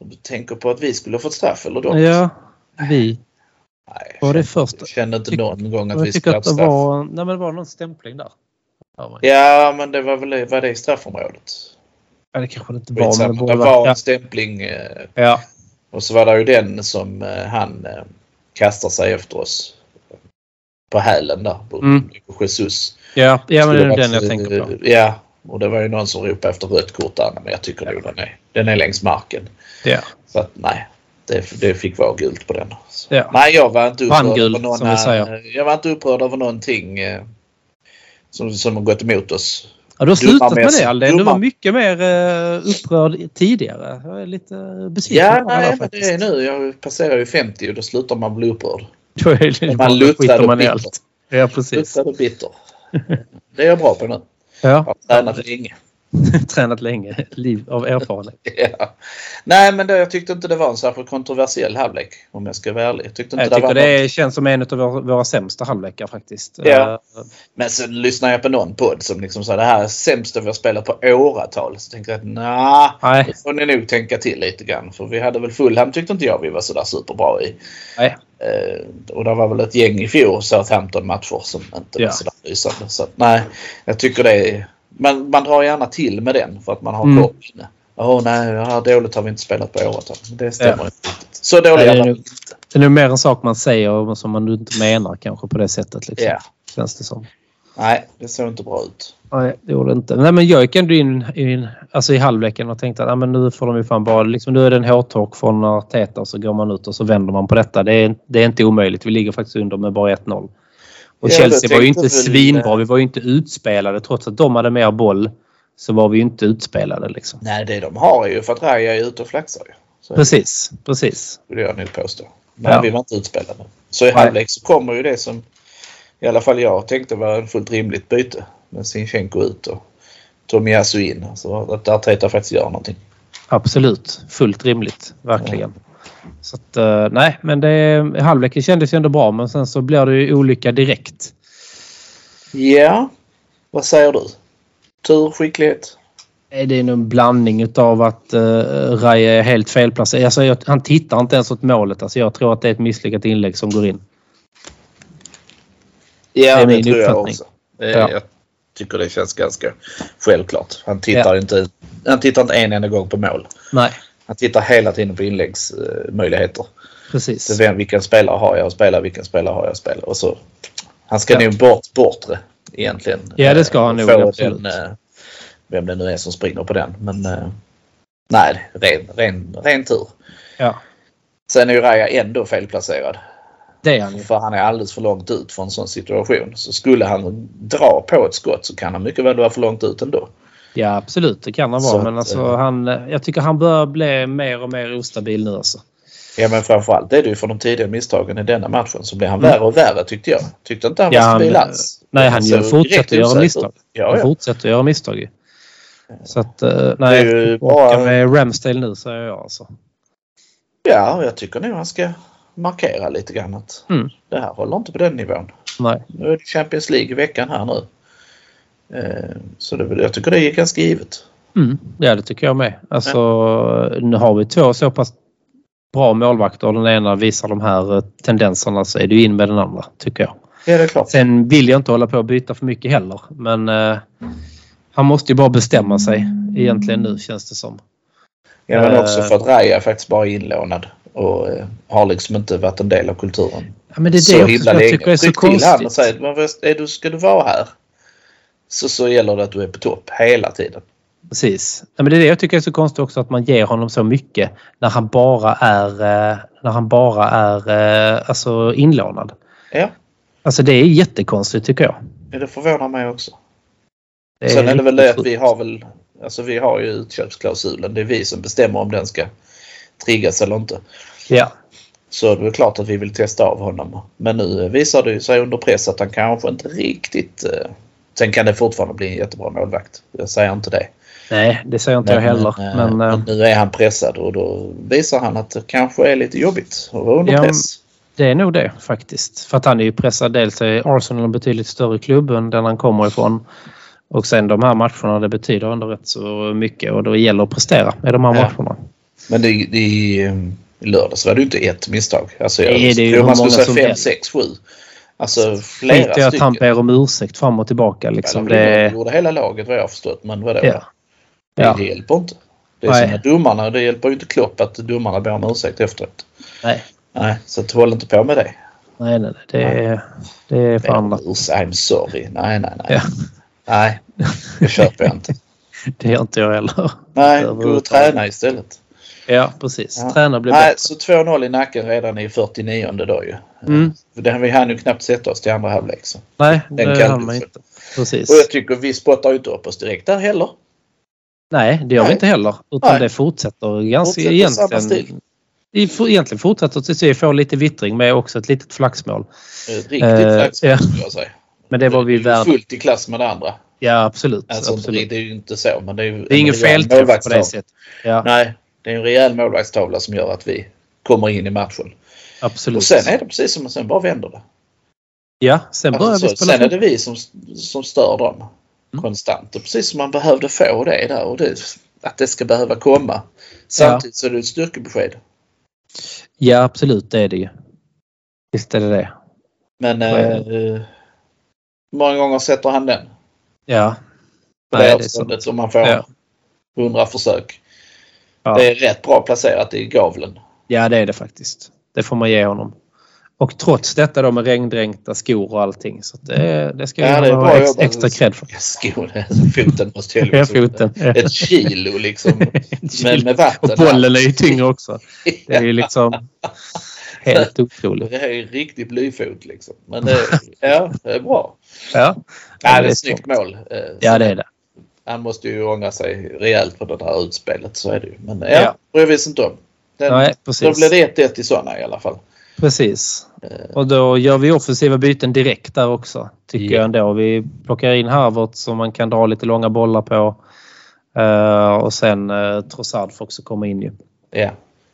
[SPEAKER 3] Om du tänker på att vi skulle ha fått straff eller då?
[SPEAKER 2] Ja, vi.
[SPEAKER 3] Nej,
[SPEAKER 2] Var det
[SPEAKER 3] jag
[SPEAKER 2] första?
[SPEAKER 3] kände inte
[SPEAKER 2] Tyck-
[SPEAKER 3] någon gång att vi
[SPEAKER 2] Jag
[SPEAKER 3] skulle
[SPEAKER 2] tycker
[SPEAKER 3] ha
[SPEAKER 2] att
[SPEAKER 3] haft
[SPEAKER 2] det
[SPEAKER 3] straff.
[SPEAKER 2] var, nej, men det var någon stämpling där. Ja,
[SPEAKER 3] Ja, men det var väl det- var det i straffområdet.
[SPEAKER 2] det kanske det inte var. Men
[SPEAKER 3] Skitsamma.
[SPEAKER 2] det
[SPEAKER 3] Det
[SPEAKER 2] borde
[SPEAKER 3] var
[SPEAKER 2] vara.
[SPEAKER 3] en stämpling eh,
[SPEAKER 2] Ja.
[SPEAKER 3] och så var det ju den som eh, han eh, kastar sig efter oss. På hälen där. På
[SPEAKER 2] Mm.
[SPEAKER 3] på Jesus.
[SPEAKER 2] Ja, ja, men det är
[SPEAKER 3] Skulle
[SPEAKER 2] den jag
[SPEAKER 3] varit,
[SPEAKER 2] tänker på.
[SPEAKER 3] eh, Ja, och det var ju någon som ropade efter rött kort där. Men jag tycker nog den är, den är längs marken.
[SPEAKER 2] Ja.
[SPEAKER 3] Så att nej, det, det fick vara gult på den. Så.
[SPEAKER 2] Ja.
[SPEAKER 3] Nej, jag var inte upprörd
[SPEAKER 2] Brandgult,
[SPEAKER 3] över någon,
[SPEAKER 2] som vi säger.
[SPEAKER 3] Jag var inte upprörd över någonting eh, som, som har gått emot oss.
[SPEAKER 2] Ja, du har slutat med
[SPEAKER 3] Dummarmässigt.
[SPEAKER 2] det Aldén. Du var
[SPEAKER 3] Dummar.
[SPEAKER 2] mycket mer eh, upprörd tidigare. Jag är lite eh, besviken
[SPEAKER 3] Ja,
[SPEAKER 2] på det
[SPEAKER 3] nej,
[SPEAKER 2] här
[SPEAKER 3] men det är
[SPEAKER 2] faktiskt.
[SPEAKER 3] nu. Jag passerar ju 50 och då slutar man bli upprörd.
[SPEAKER 2] Då är det
[SPEAKER 3] Man
[SPEAKER 2] bara
[SPEAKER 3] luttrad
[SPEAKER 2] skiter
[SPEAKER 3] och
[SPEAKER 2] man i
[SPEAKER 3] bitter.
[SPEAKER 2] allt. Ja, precis.
[SPEAKER 3] Luttrad och bitter. Det är jag bra på nu. Jag
[SPEAKER 2] Ja,
[SPEAKER 3] har tränat länge.
[SPEAKER 2] tränat länge. Liv av erfarenhet.
[SPEAKER 3] Ja. Nej, men det, jag tyckte inte det var en särskilt kontroversiell halvlek om jag ska vara ärlig. Jag tyckte inte
[SPEAKER 2] Jag
[SPEAKER 3] det var
[SPEAKER 2] tycker
[SPEAKER 3] något-
[SPEAKER 2] det känns som en av våra, våra sämsta halvlekar faktiskt.
[SPEAKER 3] Ja.
[SPEAKER 2] Eh,
[SPEAKER 3] Men sen lyssnar jag på någon podd som liksom sa det här är sämsta vi har spelat på åratal. Så tänker jag att nja,
[SPEAKER 2] Nej.
[SPEAKER 3] det får ni nog tänka till lite grann. För vi hade väl Fulham tyckte inte jag vi var sådär superbra i.
[SPEAKER 2] Nej.
[SPEAKER 3] Eh, och det var väl ett gäng i fjol Southampton-matcher som inte
[SPEAKER 2] Ja.
[SPEAKER 3] var sådär lysande. Så att, nej, jag tycker det är... Man, man drar gärna till med den för att man har
[SPEAKER 2] Mm.
[SPEAKER 3] koll. Åh nej, det här dåligt har vi inte spelat på åratal. Det stämmer
[SPEAKER 2] Ja.
[SPEAKER 3] inte riktigt. Så dåliga
[SPEAKER 2] Nej, det är
[SPEAKER 3] var vi
[SPEAKER 2] nog-
[SPEAKER 3] inte.
[SPEAKER 2] Det är nog mer en sak man säger och som man inte menar kanske på det sättet. Liksom,
[SPEAKER 3] Ja.
[SPEAKER 2] Känns det som.
[SPEAKER 3] Nej, det såg inte bra ut.
[SPEAKER 2] Nej, det gjorde det inte. Nej, men jag gick ändå in, in alltså i halvleken och tänkte att ah, men nu får de ju fan bara... Liksom, nu är det en hårtork från Arteta och så går man ut och så vänder man på detta. Det är, det är inte omöjligt. Vi ligger faktiskt under med bara 1-0. Och
[SPEAKER 3] Ja,
[SPEAKER 2] Chelsea
[SPEAKER 3] det
[SPEAKER 2] var ju
[SPEAKER 3] tänkte
[SPEAKER 2] inte
[SPEAKER 3] väl- eh,
[SPEAKER 2] svinbra. Vi var ju inte utspelade. Trots att de hade mer boll så var vi ju inte utspelade. Liksom.
[SPEAKER 3] Nej, det de har är ju för att Raja är ute och flaxar ju. Så är det.
[SPEAKER 2] Precis, precis.
[SPEAKER 3] skulle jag nog påstå. Men
[SPEAKER 2] Ja.
[SPEAKER 3] vi var inte utspelade. Så i halvlek så kommer ju det som i alla fall jag tänkte var en fullt rimligt byte. Med Sinchenko ut och Tomiyasu in. Så att Arteta faktiskt gör någonting.
[SPEAKER 2] Absolut. Fullt rimligt. Verkligen. Så att, eh, nej, men det, halvleken kändes ju ändå bra men sen så blir det ju olycka direkt.
[SPEAKER 3] Ja, vad säger du? Tur, skicklighet?
[SPEAKER 2] Nej, Det är nog en blandning utav att uh, Raje är helt felplacerad. Alltså, jag, han tittar inte ens åt målet. Alltså, jag tror att det är ett misslyckat inlägg som går in. Det
[SPEAKER 3] Ja, det,
[SPEAKER 2] är min
[SPEAKER 3] tror jag
[SPEAKER 2] uppfattning.
[SPEAKER 3] också. Det,
[SPEAKER 2] Ja.
[SPEAKER 3] Jag tycker det känns ganska självklart. Han tittar,
[SPEAKER 2] Ja.
[SPEAKER 3] inte, han tittar inte en enda gång på mål.
[SPEAKER 2] Nej,
[SPEAKER 3] Han tittar hela tiden på inläggsmöjligheter. Så
[SPEAKER 2] precis.
[SPEAKER 3] vem, vilken spelare har jag att spela? Vilken spelare har jag att spela? Och så, han ska
[SPEAKER 2] Ja.
[SPEAKER 3] nog bort bortre egentligen.
[SPEAKER 2] Ja, det ska han
[SPEAKER 3] Eh,
[SPEAKER 2] nog,
[SPEAKER 3] få
[SPEAKER 2] absolut.
[SPEAKER 3] Den, eh, vem det nu är som springer på den. Men eh, nej, ren, ren, ren tur.
[SPEAKER 2] Ja,
[SPEAKER 3] Sen är ju Raja ändå felplacerad.
[SPEAKER 2] det är han ju.
[SPEAKER 3] För han är alldeles för långt ut för en sån situation. Så skulle han dra på ett skott så kan han mycket väl vara för långt ut ändå.
[SPEAKER 2] Ja, absolut. Det kan han
[SPEAKER 3] Så
[SPEAKER 2] vara.
[SPEAKER 3] att,
[SPEAKER 2] Men alltså,
[SPEAKER 3] eh,
[SPEAKER 2] han, eh, jag tycker han börjar bli mer och mer ostabil nu. Alltså.
[SPEAKER 3] Ja men framförallt är det ju för de tidiga misstagen i denna matchen så blir han
[SPEAKER 2] Mm.
[SPEAKER 3] värre och värre tyckte jag. Tyckte inte han
[SPEAKER 2] Ja,
[SPEAKER 3] var
[SPEAKER 2] han-
[SPEAKER 3] stabil alls.
[SPEAKER 2] nej, han gör-
[SPEAKER 3] såg
[SPEAKER 2] fortsätter
[SPEAKER 3] direkt
[SPEAKER 2] göra
[SPEAKER 3] osäker ut.
[SPEAKER 2] misstag.
[SPEAKER 3] Ja,
[SPEAKER 2] Han
[SPEAKER 3] ja.
[SPEAKER 2] fortsätter göra misstag ju. Så att, eh,
[SPEAKER 3] Det
[SPEAKER 2] nej,
[SPEAKER 3] är ju
[SPEAKER 2] tillbaka
[SPEAKER 3] bara-
[SPEAKER 2] med Ramsdale nu säger jag alltså.
[SPEAKER 3] Ja, och jag tycker nog han ska markera lite grann att
[SPEAKER 2] Mm.
[SPEAKER 3] det här håller inte på den nivån.
[SPEAKER 2] Nej.
[SPEAKER 3] Nu är det Champions League i veckan här nu. Eh, Så det, är väl- jag tycker det är ganska givet.
[SPEAKER 2] Mm. Ja, det tycker jag med. Alltså, Nu har vi två så pass bra målvakter och den ena visar de här eh, tendenserna så är det ju in med den andra, tycker jag.
[SPEAKER 3] Ja, det är klart.
[SPEAKER 2] Sen vill jag inte hålla på och byta för mycket heller, men eh, han måste ju bara bestämma sig egentligen nu känns det som.
[SPEAKER 3] Ja, men
[SPEAKER 2] Eh.
[SPEAKER 3] också för att Raja är faktiskt bara inlånad och eh, har liksom inte varit en del av kulturen.
[SPEAKER 2] Ja, men det är
[SPEAKER 3] så
[SPEAKER 2] det också som jag tycker är så
[SPEAKER 3] Tryck till han och
[SPEAKER 2] konstigt.
[SPEAKER 3] säg, "Men vad- är du, ska du vara här? så, så gäller det att du är på topp hela tiden.
[SPEAKER 2] Precis. Ja, men det är det jag tycker är så konstigt också att man ger honom så mycket när han bara är, eh, när han bara är eh, alltså inlånad.
[SPEAKER 3] Ja,
[SPEAKER 2] Alltså det är jättekonstigt tycker jag.
[SPEAKER 3] det förvånar mig också.
[SPEAKER 2] Det
[SPEAKER 3] Sen är det väl det
[SPEAKER 2] riktigt
[SPEAKER 3] att vi har väl, alltså vi har ju utköpsklausulen. Det är vi som bestämmer om den ska triggas eller inte.
[SPEAKER 2] sjukt. Ja.
[SPEAKER 3] Så det är klart att vi vill testa av honom. Men nu visar det ju sig under press att han kanske inte riktigt... eh, Sen kan det fortfarande bli en jättebra målvakt. Jag säger inte det.
[SPEAKER 2] Nej, det säger inte jag heller.
[SPEAKER 3] eh,
[SPEAKER 2] Men, eh,
[SPEAKER 3] men nu är han pressad och då visar han att det kanske är lite jobbigt att vara under
[SPEAKER 2] Ja,
[SPEAKER 3] press.
[SPEAKER 2] det är nog det faktiskt. För att han är ju pressad. Dels är Arsenal en betydligt större klubb än den han kommer ifrån. Och sen de här matcherna, det betyder ändå rätt så mycket och då gäller att prestera i de här
[SPEAKER 3] Ja.
[SPEAKER 2] matcherna.
[SPEAKER 3] Men det, det, eh, i lördags var det ju inte ett misstag. Alltså, jag
[SPEAKER 2] Nej, det är ju
[SPEAKER 3] tror
[SPEAKER 2] hur
[SPEAKER 3] man skulle
[SPEAKER 2] många som
[SPEAKER 3] säga fem,
[SPEAKER 2] helst.
[SPEAKER 3] sex, sju. Alltså
[SPEAKER 2] Skit i
[SPEAKER 3] flera
[SPEAKER 2] att han
[SPEAKER 3] stycken.
[SPEAKER 2] ber om ursäkt fram och tillbaka. Liksom.
[SPEAKER 3] Eller,
[SPEAKER 2] Det,
[SPEAKER 3] Det gjorde hela laget vad jag har förstått. Men vadå?
[SPEAKER 2] ja.
[SPEAKER 3] Det,
[SPEAKER 2] Ja.
[SPEAKER 3] det hjälper inte. Det är
[SPEAKER 2] Nej.
[SPEAKER 3] som med domarna. Det hjälper ju inte Klopp att domarna ber om ursäkt efteråt.
[SPEAKER 2] Nej.
[SPEAKER 3] Nej, så att håll inte på med det.
[SPEAKER 2] Nej, nej, nej, det, är, det är
[SPEAKER 3] Ber om
[SPEAKER 2] förhandlat.
[SPEAKER 3] urs- I'm sorry. Nej, nej, nej.
[SPEAKER 2] Ja.
[SPEAKER 3] Nej, det köper jag inte.
[SPEAKER 2] Det gör inte jag heller.
[SPEAKER 3] Nej,
[SPEAKER 2] Över-
[SPEAKER 3] gå och träna istället.
[SPEAKER 2] Ja, precis.
[SPEAKER 3] Ja.
[SPEAKER 2] Träna och bli
[SPEAKER 3] Nej,
[SPEAKER 2] bättre.
[SPEAKER 3] så 2-0 i nacken redan i 49 då ju.
[SPEAKER 2] Mm.
[SPEAKER 3] Den, vi hann ju knappt sätta oss till andra halvlek. Så.
[SPEAKER 2] Nej,
[SPEAKER 3] Den
[SPEAKER 2] det
[SPEAKER 3] kan
[SPEAKER 2] hann
[SPEAKER 3] du
[SPEAKER 2] man
[SPEAKER 3] få.
[SPEAKER 2] inte. Precis.
[SPEAKER 3] Och jag tycker vi spottar ju inte upp oss direkt där heller.
[SPEAKER 2] Nej, det gör vi
[SPEAKER 3] Nej.
[SPEAKER 2] inte heller. Utan
[SPEAKER 3] Nej.
[SPEAKER 2] det fortsätter ganska
[SPEAKER 3] Fortsätter samma stil.
[SPEAKER 2] egentligen. Det får- egentligen fortsätter tills vi får lite vittring med också ett litet flaxmål.
[SPEAKER 3] Eh, Riktigt
[SPEAKER 2] Eh,
[SPEAKER 3] flaxigt
[SPEAKER 2] ja.
[SPEAKER 3] skulle jag säga.
[SPEAKER 2] Men det var vi
[SPEAKER 3] Det är ju
[SPEAKER 2] värd.
[SPEAKER 3] Fullt i klass med det andra.
[SPEAKER 2] Ja, absolut.
[SPEAKER 3] Mm. Alltså,
[SPEAKER 2] absolut.
[SPEAKER 3] Det är ju inte så. Men det är, ju-
[SPEAKER 2] Det är ingen
[SPEAKER 3] en rejäl
[SPEAKER 2] felträff på
[SPEAKER 3] målvaktstavla.
[SPEAKER 2] det sättet. Ja,
[SPEAKER 3] Nej, det är en rejäl målvaktstavla som gör att vi kommer in i matchen. Och
[SPEAKER 2] absolut.
[SPEAKER 3] sen är det precis som att sen bara vänder det.
[SPEAKER 2] Ja, sen börjar
[SPEAKER 3] Alltså,
[SPEAKER 2] vi
[SPEAKER 3] så, sen
[SPEAKER 2] spela.
[SPEAKER 3] är det vi som, som stör dem
[SPEAKER 2] Mm.
[SPEAKER 3] konstant. Och precis som man behövde få det där och det, att det ska behöva komma. Samtidigt så är det ett styrkebesked.
[SPEAKER 2] Ja, absolut. Det är det ju. Visst är det det.
[SPEAKER 3] Men
[SPEAKER 2] Vad är
[SPEAKER 3] eh, många gånger sätter han den.
[SPEAKER 2] Ja.
[SPEAKER 3] På
[SPEAKER 2] Nej,
[SPEAKER 3] det
[SPEAKER 2] det är sant.
[SPEAKER 3] avståndet som man får
[SPEAKER 2] Ja.
[SPEAKER 3] hundra försök.
[SPEAKER 2] Ja.
[SPEAKER 3] Det är rätt bra placerat i gavlen.
[SPEAKER 2] Ja, det är det faktiskt. Det får man ge honom. Och trots detta då med regndränkta skor och allting. Så att det, det ska
[SPEAKER 3] Ja,
[SPEAKER 2] vi
[SPEAKER 3] det är
[SPEAKER 2] ha
[SPEAKER 3] bra
[SPEAKER 2] ex,
[SPEAKER 3] jobbat.
[SPEAKER 2] extra cred för.
[SPEAKER 3] Skon, foten måste liksom- jag
[SPEAKER 2] Ja, foten. Ja.
[SPEAKER 3] Ett kilo liksom. Men med
[SPEAKER 2] Och
[SPEAKER 3] vatten.
[SPEAKER 2] bollen är ju tyngre också. Det är ju liksom helt otroligt.
[SPEAKER 3] Det här är ju riktig blyfot liksom. Men det, ja, det är bra.
[SPEAKER 2] Ja,
[SPEAKER 3] Ja, det är
[SPEAKER 2] det är
[SPEAKER 3] ett snyggt mål. Eh,
[SPEAKER 2] ja det är det.
[SPEAKER 3] Han måste ju ångra sig rejält på det här utspelet, så är det ju. Men eh, ja,
[SPEAKER 2] Ja.
[SPEAKER 3] bryr vi oss inte om. Den,
[SPEAKER 2] Nej,
[SPEAKER 3] då blir
[SPEAKER 2] precis.
[SPEAKER 3] det 1-1 i sådana i alla fall.
[SPEAKER 2] precis.
[SPEAKER 3] Eh.
[SPEAKER 2] Och då gör vi offensiva byten direkt där också. Tycker
[SPEAKER 3] Ja.
[SPEAKER 2] jag ändå. Vi plockar in Harvard som man kan dra lite långa bollar på. Eh, och sen uh, Trossard får också komma in ju.
[SPEAKER 3] Ja.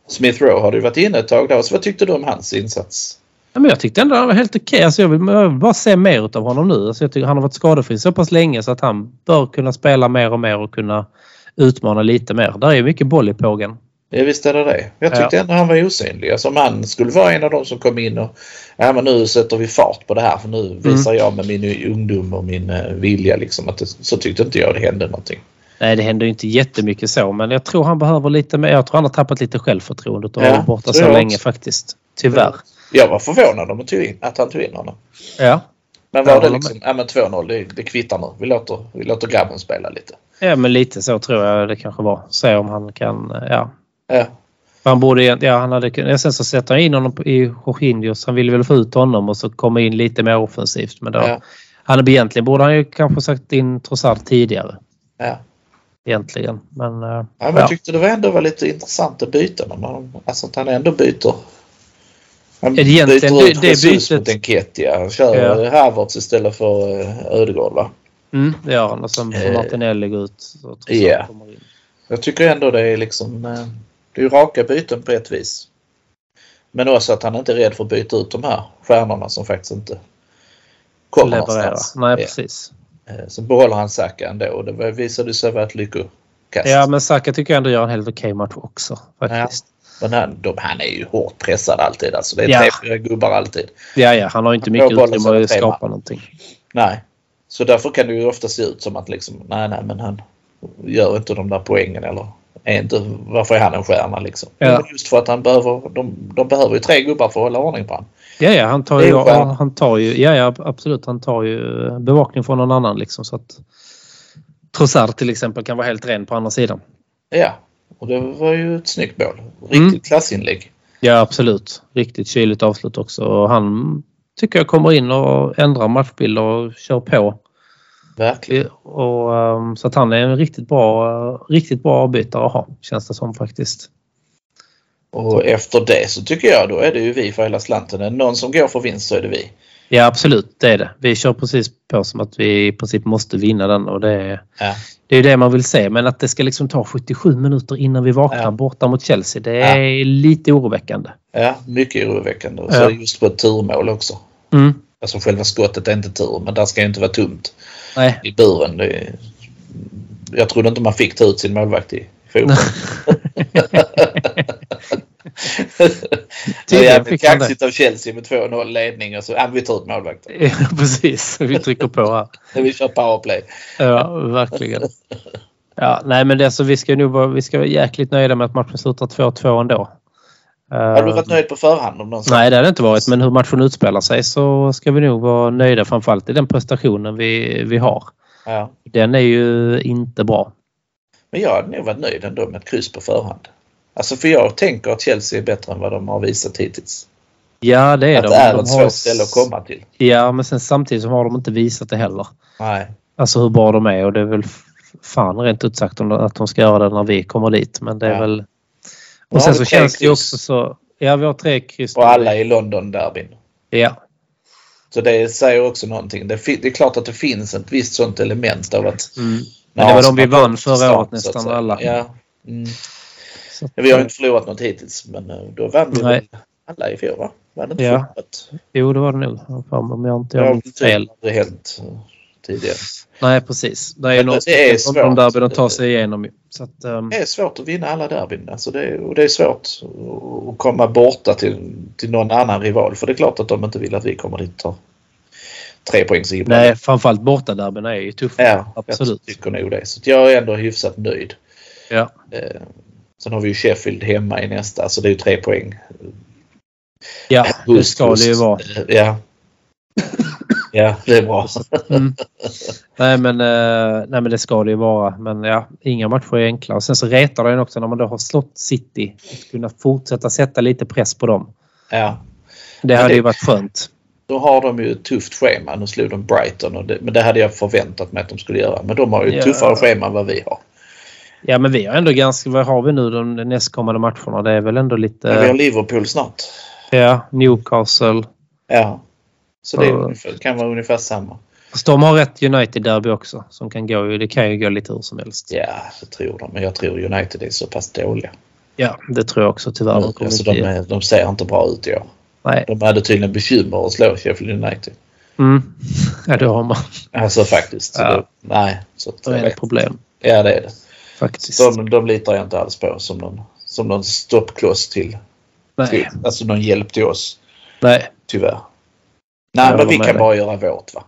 [SPEAKER 3] Smith Rowe har du varit inne ett tag där, så vad tyckte du om hans insats?
[SPEAKER 2] Ja, men jag tyckte ändå han var helt okej. Alltså jag, vill, jag vill bara se mer utav honom nu. Alltså jag tycker han har varit skadefri så pass länge så att han bör kunna spela mer och mer och kunna utmana lite mer. Där är ju mycket boll i pågen.
[SPEAKER 3] Ja, visst är det det. Jag tyckte ändå han var osynlig. Alltså om han skulle vara en av de som kom in och ja, men nu sätter vi fart på det här för nu
[SPEAKER 2] Mm.
[SPEAKER 3] visar jag med min ungdom och min eh, vilja liksom att det, så tyckte inte jag det hände någonting.
[SPEAKER 2] Nej, det händer ju inte jättemycket så men jag tror han behöver lite mer. Jag tror han har tappat lite självförtroendet och
[SPEAKER 3] Ja,
[SPEAKER 2] har varit borta
[SPEAKER 3] tror
[SPEAKER 2] så
[SPEAKER 3] jag
[SPEAKER 2] länge
[SPEAKER 3] också.
[SPEAKER 2] faktiskt. Tyvärr.
[SPEAKER 3] Jag var förvånad om att, tog in, att han tog in honom.
[SPEAKER 2] Ja.
[SPEAKER 3] Men
[SPEAKER 2] Jag
[SPEAKER 3] var det
[SPEAKER 2] håller
[SPEAKER 3] liksom, ja men 2-0, det, det kvittar nu. Vi låter, vi låter grabben spela lite.
[SPEAKER 2] ja, men lite så tror jag det kanske var. Se om han kan... eh, Ja.
[SPEAKER 3] Ja,
[SPEAKER 2] För Han borde, egent- ja, han hade, kun- ja, sen så sätter han in honom på- i Jorginho så han ville väl få ut honom och så komma in lite mer offensivt. Men då,
[SPEAKER 3] ja,
[SPEAKER 2] Han egentligen borde han ju kanske sagt in Trossard tidigare.
[SPEAKER 3] ja.
[SPEAKER 2] Egentligen. Men, eh,
[SPEAKER 3] ja men
[SPEAKER 2] ja.
[SPEAKER 3] jag tyckte det var ändå var lite intressant att byta. när man- Alltså att han ändå byter. Han
[SPEAKER 2] Ja, det är egentligen-
[SPEAKER 3] byter ut
[SPEAKER 2] det- det är
[SPEAKER 3] Jesus
[SPEAKER 2] bytet-
[SPEAKER 3] mot Enketia. Han kör
[SPEAKER 2] Ja.
[SPEAKER 3] Havertz istället för eh, Ödegaard va?
[SPEAKER 2] mm, det gör han. Och sen får
[SPEAKER 3] Eh,
[SPEAKER 2] Martinelli gå ut. Och Trossard
[SPEAKER 3] ja.
[SPEAKER 2] kommer in.
[SPEAKER 3] Jag tycker ändå det är liksom... eh, Det är ju raka byten på ett vis. Men också att han inte är rädd för att byta ut de här stjärnorna som faktiskt inte kommer
[SPEAKER 2] Leverera.
[SPEAKER 3] någonstans.
[SPEAKER 2] Nej,
[SPEAKER 3] Ja.
[SPEAKER 2] precis.
[SPEAKER 3] Eh, Så behåller han Saka ändå och det visade sig vara ett lyckokast.
[SPEAKER 2] Ja, men Saka tycker jag ändå gör en helt okej match också. Faktiskt.
[SPEAKER 3] Men han, de, han är ju hårt pressad alltid. Alltså. Det är
[SPEAKER 2] Ja.
[SPEAKER 3] tre, fyra gubbar alltid.
[SPEAKER 2] Ja. ja, han har ju inte
[SPEAKER 3] Han
[SPEAKER 2] mycket
[SPEAKER 3] får bollen som
[SPEAKER 2] utrymme
[SPEAKER 3] en
[SPEAKER 2] att
[SPEAKER 3] femma.
[SPEAKER 2] skapa någonting.
[SPEAKER 3] Nej. Så därför kan det ju ofta se ut som att liksom, nej, nej, men han gör inte de där poängen eller är inte, varför är han en stjärna liksom?
[SPEAKER 2] Ja.
[SPEAKER 3] Men Just för att han behöver, de, de behöver ju tre gubbar för att hålla ordning på honom.
[SPEAKER 2] Ja, ja, han tar
[SPEAKER 3] Det är
[SPEAKER 2] ju,
[SPEAKER 3] skönt.
[SPEAKER 2] han tar ju ja, ja, absolut, han tar ju eh, bevakning från någon annan liksom så att Trossard till exempel kan vara helt ren på andra sidan.
[SPEAKER 3] Ja, och det var ju ett snyggt mål. Riktigt
[SPEAKER 2] Mm.
[SPEAKER 3] klassinlägg.
[SPEAKER 2] Ja, absolut. Riktigt kyligt avslut också. Och han tycker jag kommer in och ändrar matchbilder och kör på.
[SPEAKER 3] Verkligen.
[SPEAKER 2] Och, ehm, så att han är en riktigt bra, riktigt bra avbytare att ha, känns det som faktiskt.
[SPEAKER 3] Och efter det så tycker jag då är det ju vi för hela slanten. Är det någon som går för vinst så är det vi.
[SPEAKER 2] Ja, absolut. Det är det. Vi kör precis på som att vi i princip måste vinna den och det är
[SPEAKER 3] Ja.
[SPEAKER 2] det, är ju det man vill se. Men att det ska liksom ta 77 minuter innan vi vaknar
[SPEAKER 3] Ja.
[SPEAKER 2] borta mot Chelsea, det
[SPEAKER 3] Ja.
[SPEAKER 2] är lite oroväckande.
[SPEAKER 3] Ja, mycket oroväckande. Och
[SPEAKER 2] Ja.
[SPEAKER 3] så just på ett turmål också.
[SPEAKER 2] Mm.
[SPEAKER 3] Alltså själva skottet är inte tur, men där ska ju inte vara tomt
[SPEAKER 2] Nej.
[SPEAKER 3] i buren. Det är... Jag trodde inte man fick ta ut sin målvakt i fotboll. det är
[SPEAKER 2] Tydligen
[SPEAKER 3] jävligt
[SPEAKER 2] fick han det.
[SPEAKER 3] kaxigt av Chelsea med 2-0 ledning och så, ja, vi tar ut målvakten.
[SPEAKER 2] Ja, precis. Vi trycker på här.
[SPEAKER 3] Vi kör powerplay.
[SPEAKER 2] Ja, verkligen. Ja, nej, men det, så vi ska ju nog vara, vi ska vara jäkligt nöjda med att matchen slutar 2-2 ändå. Eh,
[SPEAKER 3] Har du varit nöjd på förhand om någon sa-
[SPEAKER 2] Nej, det har det inte varit. Men hur matchen utspelar sig så ska vi nog vara nöjda framförallt i den prestationen vi, vi har.
[SPEAKER 3] Ja.
[SPEAKER 2] Den är ju inte bra.
[SPEAKER 3] Men jag hade nog varit nöjd ändå med ett kryss på förhand. Alltså för jag tänker att Chelsea är bättre än vad de har visat hittills.
[SPEAKER 2] Ja, det är
[SPEAKER 3] Att
[SPEAKER 2] de.
[SPEAKER 3] det är
[SPEAKER 2] de
[SPEAKER 3] ett
[SPEAKER 2] har-
[SPEAKER 3] svårt ställe att komma till.
[SPEAKER 2] Ja, men sen samtidigt så har de inte visat det heller.
[SPEAKER 3] Nej.
[SPEAKER 2] Alltså hur bra de är och det är väl f- fan rent ut sagt om de- att de ska göra det när vi kommer dit. Men det är
[SPEAKER 3] Ja.
[SPEAKER 2] väl...
[SPEAKER 3] har
[SPEAKER 2] Och sen
[SPEAKER 3] vi
[SPEAKER 2] så
[SPEAKER 3] tre
[SPEAKER 2] känns det ju
[SPEAKER 3] kryss.
[SPEAKER 2] också så... Ja, vi har tre kryss.
[SPEAKER 3] Och alla i London-derbyn.
[SPEAKER 2] Ja,
[SPEAKER 3] Så det säger också någonting. Det, fi- det är klart att det finns ett visst sånt element av att...
[SPEAKER 2] Mm. Men det var de vi vann förra året
[SPEAKER 3] Så att
[SPEAKER 2] nästan
[SPEAKER 3] säga.
[SPEAKER 2] alla.
[SPEAKER 3] Ja. Mm.
[SPEAKER 2] Så att,
[SPEAKER 3] Vi har ju inte förlorat något hittills men eh, då vann vi
[SPEAKER 2] Nej.
[SPEAKER 3] väl alla i fjol va? Var det inte
[SPEAKER 2] Ja.
[SPEAKER 3] förlorat?
[SPEAKER 2] Jo, det var det nog. Vad fan, Om jag inte
[SPEAKER 3] Det har
[SPEAKER 2] gör
[SPEAKER 3] väl
[SPEAKER 2] något fel.
[SPEAKER 3] tydligen aldrig hänt eh, tidigare.
[SPEAKER 2] Nej, precis. Det är ju
[SPEAKER 3] Men
[SPEAKER 2] något
[SPEAKER 3] det är
[SPEAKER 2] av de
[SPEAKER 3] svårt.
[SPEAKER 2] där de tar sig igenom. ju. Så att, ehm,
[SPEAKER 3] Det är svårt att vinna alla derbyn. Alltså det, är- och det är svårt att komma borta till, till någon annan rival. För det är klart att de inte vill att vi kommer dit och tar tre poängs
[SPEAKER 2] nej, framförallt bortaderbyn är ju tuffa.
[SPEAKER 3] ja,
[SPEAKER 2] absolut.
[SPEAKER 3] Jag tycker nog det. Så att jag är ändå hyfsat nöjd.
[SPEAKER 2] Ja.
[SPEAKER 3] Eh, sen har vi ju Sheffield hemma i nästa. Så det är ju tre poäng.
[SPEAKER 2] ja, det
[SPEAKER 3] Hust,
[SPEAKER 2] ska det ju
[SPEAKER 3] hust.
[SPEAKER 2] vara.
[SPEAKER 3] Eh, Ja. ja, det är bra.
[SPEAKER 2] Mm. Nej, men, eh, nej, men det ska det ju vara. Men ja, inga matcher är enkla. Och sen så retar det en också när man då har slått City. Att kunna fortsätta sätta lite press på dem.
[SPEAKER 3] Ja.
[SPEAKER 2] Det hade
[SPEAKER 3] det-
[SPEAKER 2] ju varit skönt.
[SPEAKER 3] Då har de ju ett tufft schema. Nu slog de Brighton. Och det, men det hade jag förväntat mig att de skulle göra. Men de har ju ett
[SPEAKER 2] Ja.
[SPEAKER 3] tuffare schema än vad vi har.
[SPEAKER 2] Ja, men vi har ändå ganska... Vad har vi nu de nästkommande matcherna? Det är väl ändå lite...
[SPEAKER 3] Men vi har Liverpool snart.
[SPEAKER 2] Ja, Newcastle.
[SPEAKER 3] Ja. Så det är
[SPEAKER 2] Ja.
[SPEAKER 3] ungefär, kan vara ungefär samma.
[SPEAKER 2] Fast de har ett United-derby också. Som kan gå, det kan ju gå lite hur som helst.
[SPEAKER 3] Ja, det tror de. Men jag tror United är så pass dåliga.
[SPEAKER 2] Ja, det tror jag också tyvärr. Det kommer
[SPEAKER 3] alltså,
[SPEAKER 2] inte-
[SPEAKER 3] de, är, de ser inte bra ut i år.
[SPEAKER 2] Nej.
[SPEAKER 3] De hade tydligen bekymmer att slå Sheffield United.
[SPEAKER 2] Mm. Ja, det har man.
[SPEAKER 3] Alltså faktiskt. Så
[SPEAKER 2] Ja.
[SPEAKER 3] det, nej. Så att,
[SPEAKER 2] Det är ett problem
[SPEAKER 3] ja, det är det.
[SPEAKER 2] faktiskt.
[SPEAKER 3] De, de litar jag inte alls på som någon, som någon stoppkloss till, till.
[SPEAKER 2] Nej.
[SPEAKER 3] Alltså någon hjälp till oss,
[SPEAKER 2] Nej.
[SPEAKER 3] tyvärr. Nej,
[SPEAKER 2] Jag
[SPEAKER 3] men vi
[SPEAKER 2] håller med
[SPEAKER 3] kan
[SPEAKER 2] dig.
[SPEAKER 3] bara göra vårt. va.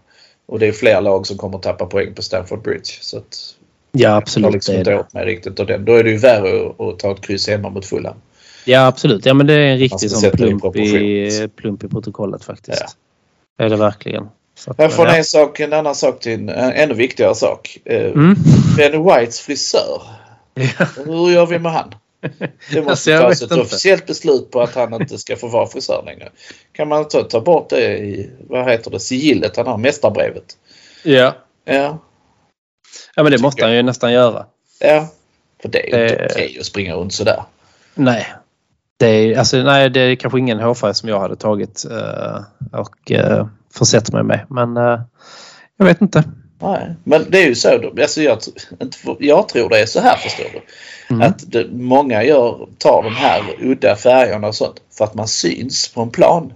[SPEAKER 3] Och det är fler lag som kommer tappa poäng på Stamford Bridge. Så att
[SPEAKER 2] Ja,
[SPEAKER 3] Jag har
[SPEAKER 2] absolut.
[SPEAKER 3] liksom
[SPEAKER 2] det är
[SPEAKER 3] inte
[SPEAKER 2] det.
[SPEAKER 3] åt mig riktigt av den. Då är det ju värre att- att ta ett kryss hemma mot Fulham.
[SPEAKER 2] Ja, absolut. Ja, men det är en
[SPEAKER 3] Man ska
[SPEAKER 2] riktig sån
[SPEAKER 3] sätta det i
[SPEAKER 2] plump i,
[SPEAKER 3] proportion.
[SPEAKER 2] plump i protokollet faktiskt.
[SPEAKER 3] Ja.
[SPEAKER 2] Det är det verkligen. Så att,
[SPEAKER 3] Därifrån är
[SPEAKER 2] ja.
[SPEAKER 3] en, sak, en annan sak till en, en ännu viktigare sak. Eh,
[SPEAKER 2] Mm.
[SPEAKER 3] Benny Whites frisör.
[SPEAKER 2] Ja.
[SPEAKER 3] Hur gör vi med han? Det måste
[SPEAKER 2] Alltså, jag
[SPEAKER 3] tas
[SPEAKER 2] vet
[SPEAKER 3] ett
[SPEAKER 2] inte.
[SPEAKER 3] officiellt beslut på att han inte ska få vara frisör längre. Kan man ta, ta bort det i, vad heter det, sigillet han har, mästarbrevet?
[SPEAKER 2] Ja.
[SPEAKER 3] Ja,
[SPEAKER 2] ja, men det måste han ju nästan göra.
[SPEAKER 3] ja. För det är ju inte
[SPEAKER 2] Eh.
[SPEAKER 3] okej att springa runt sådär.
[SPEAKER 2] Nej. Det är, alltså, nej, det är kanske ingen hårfärg som jag hade tagit eh, och eh, försett mig med. Men eh, jag vet inte.
[SPEAKER 3] Nej, men det är ju så. då. Alltså jag, tr- inte för- jag tror det är så här förstår du.
[SPEAKER 2] Mm.
[SPEAKER 3] Att det, många gör, tar de här udda färgerna och sånt för att man syns på en plan.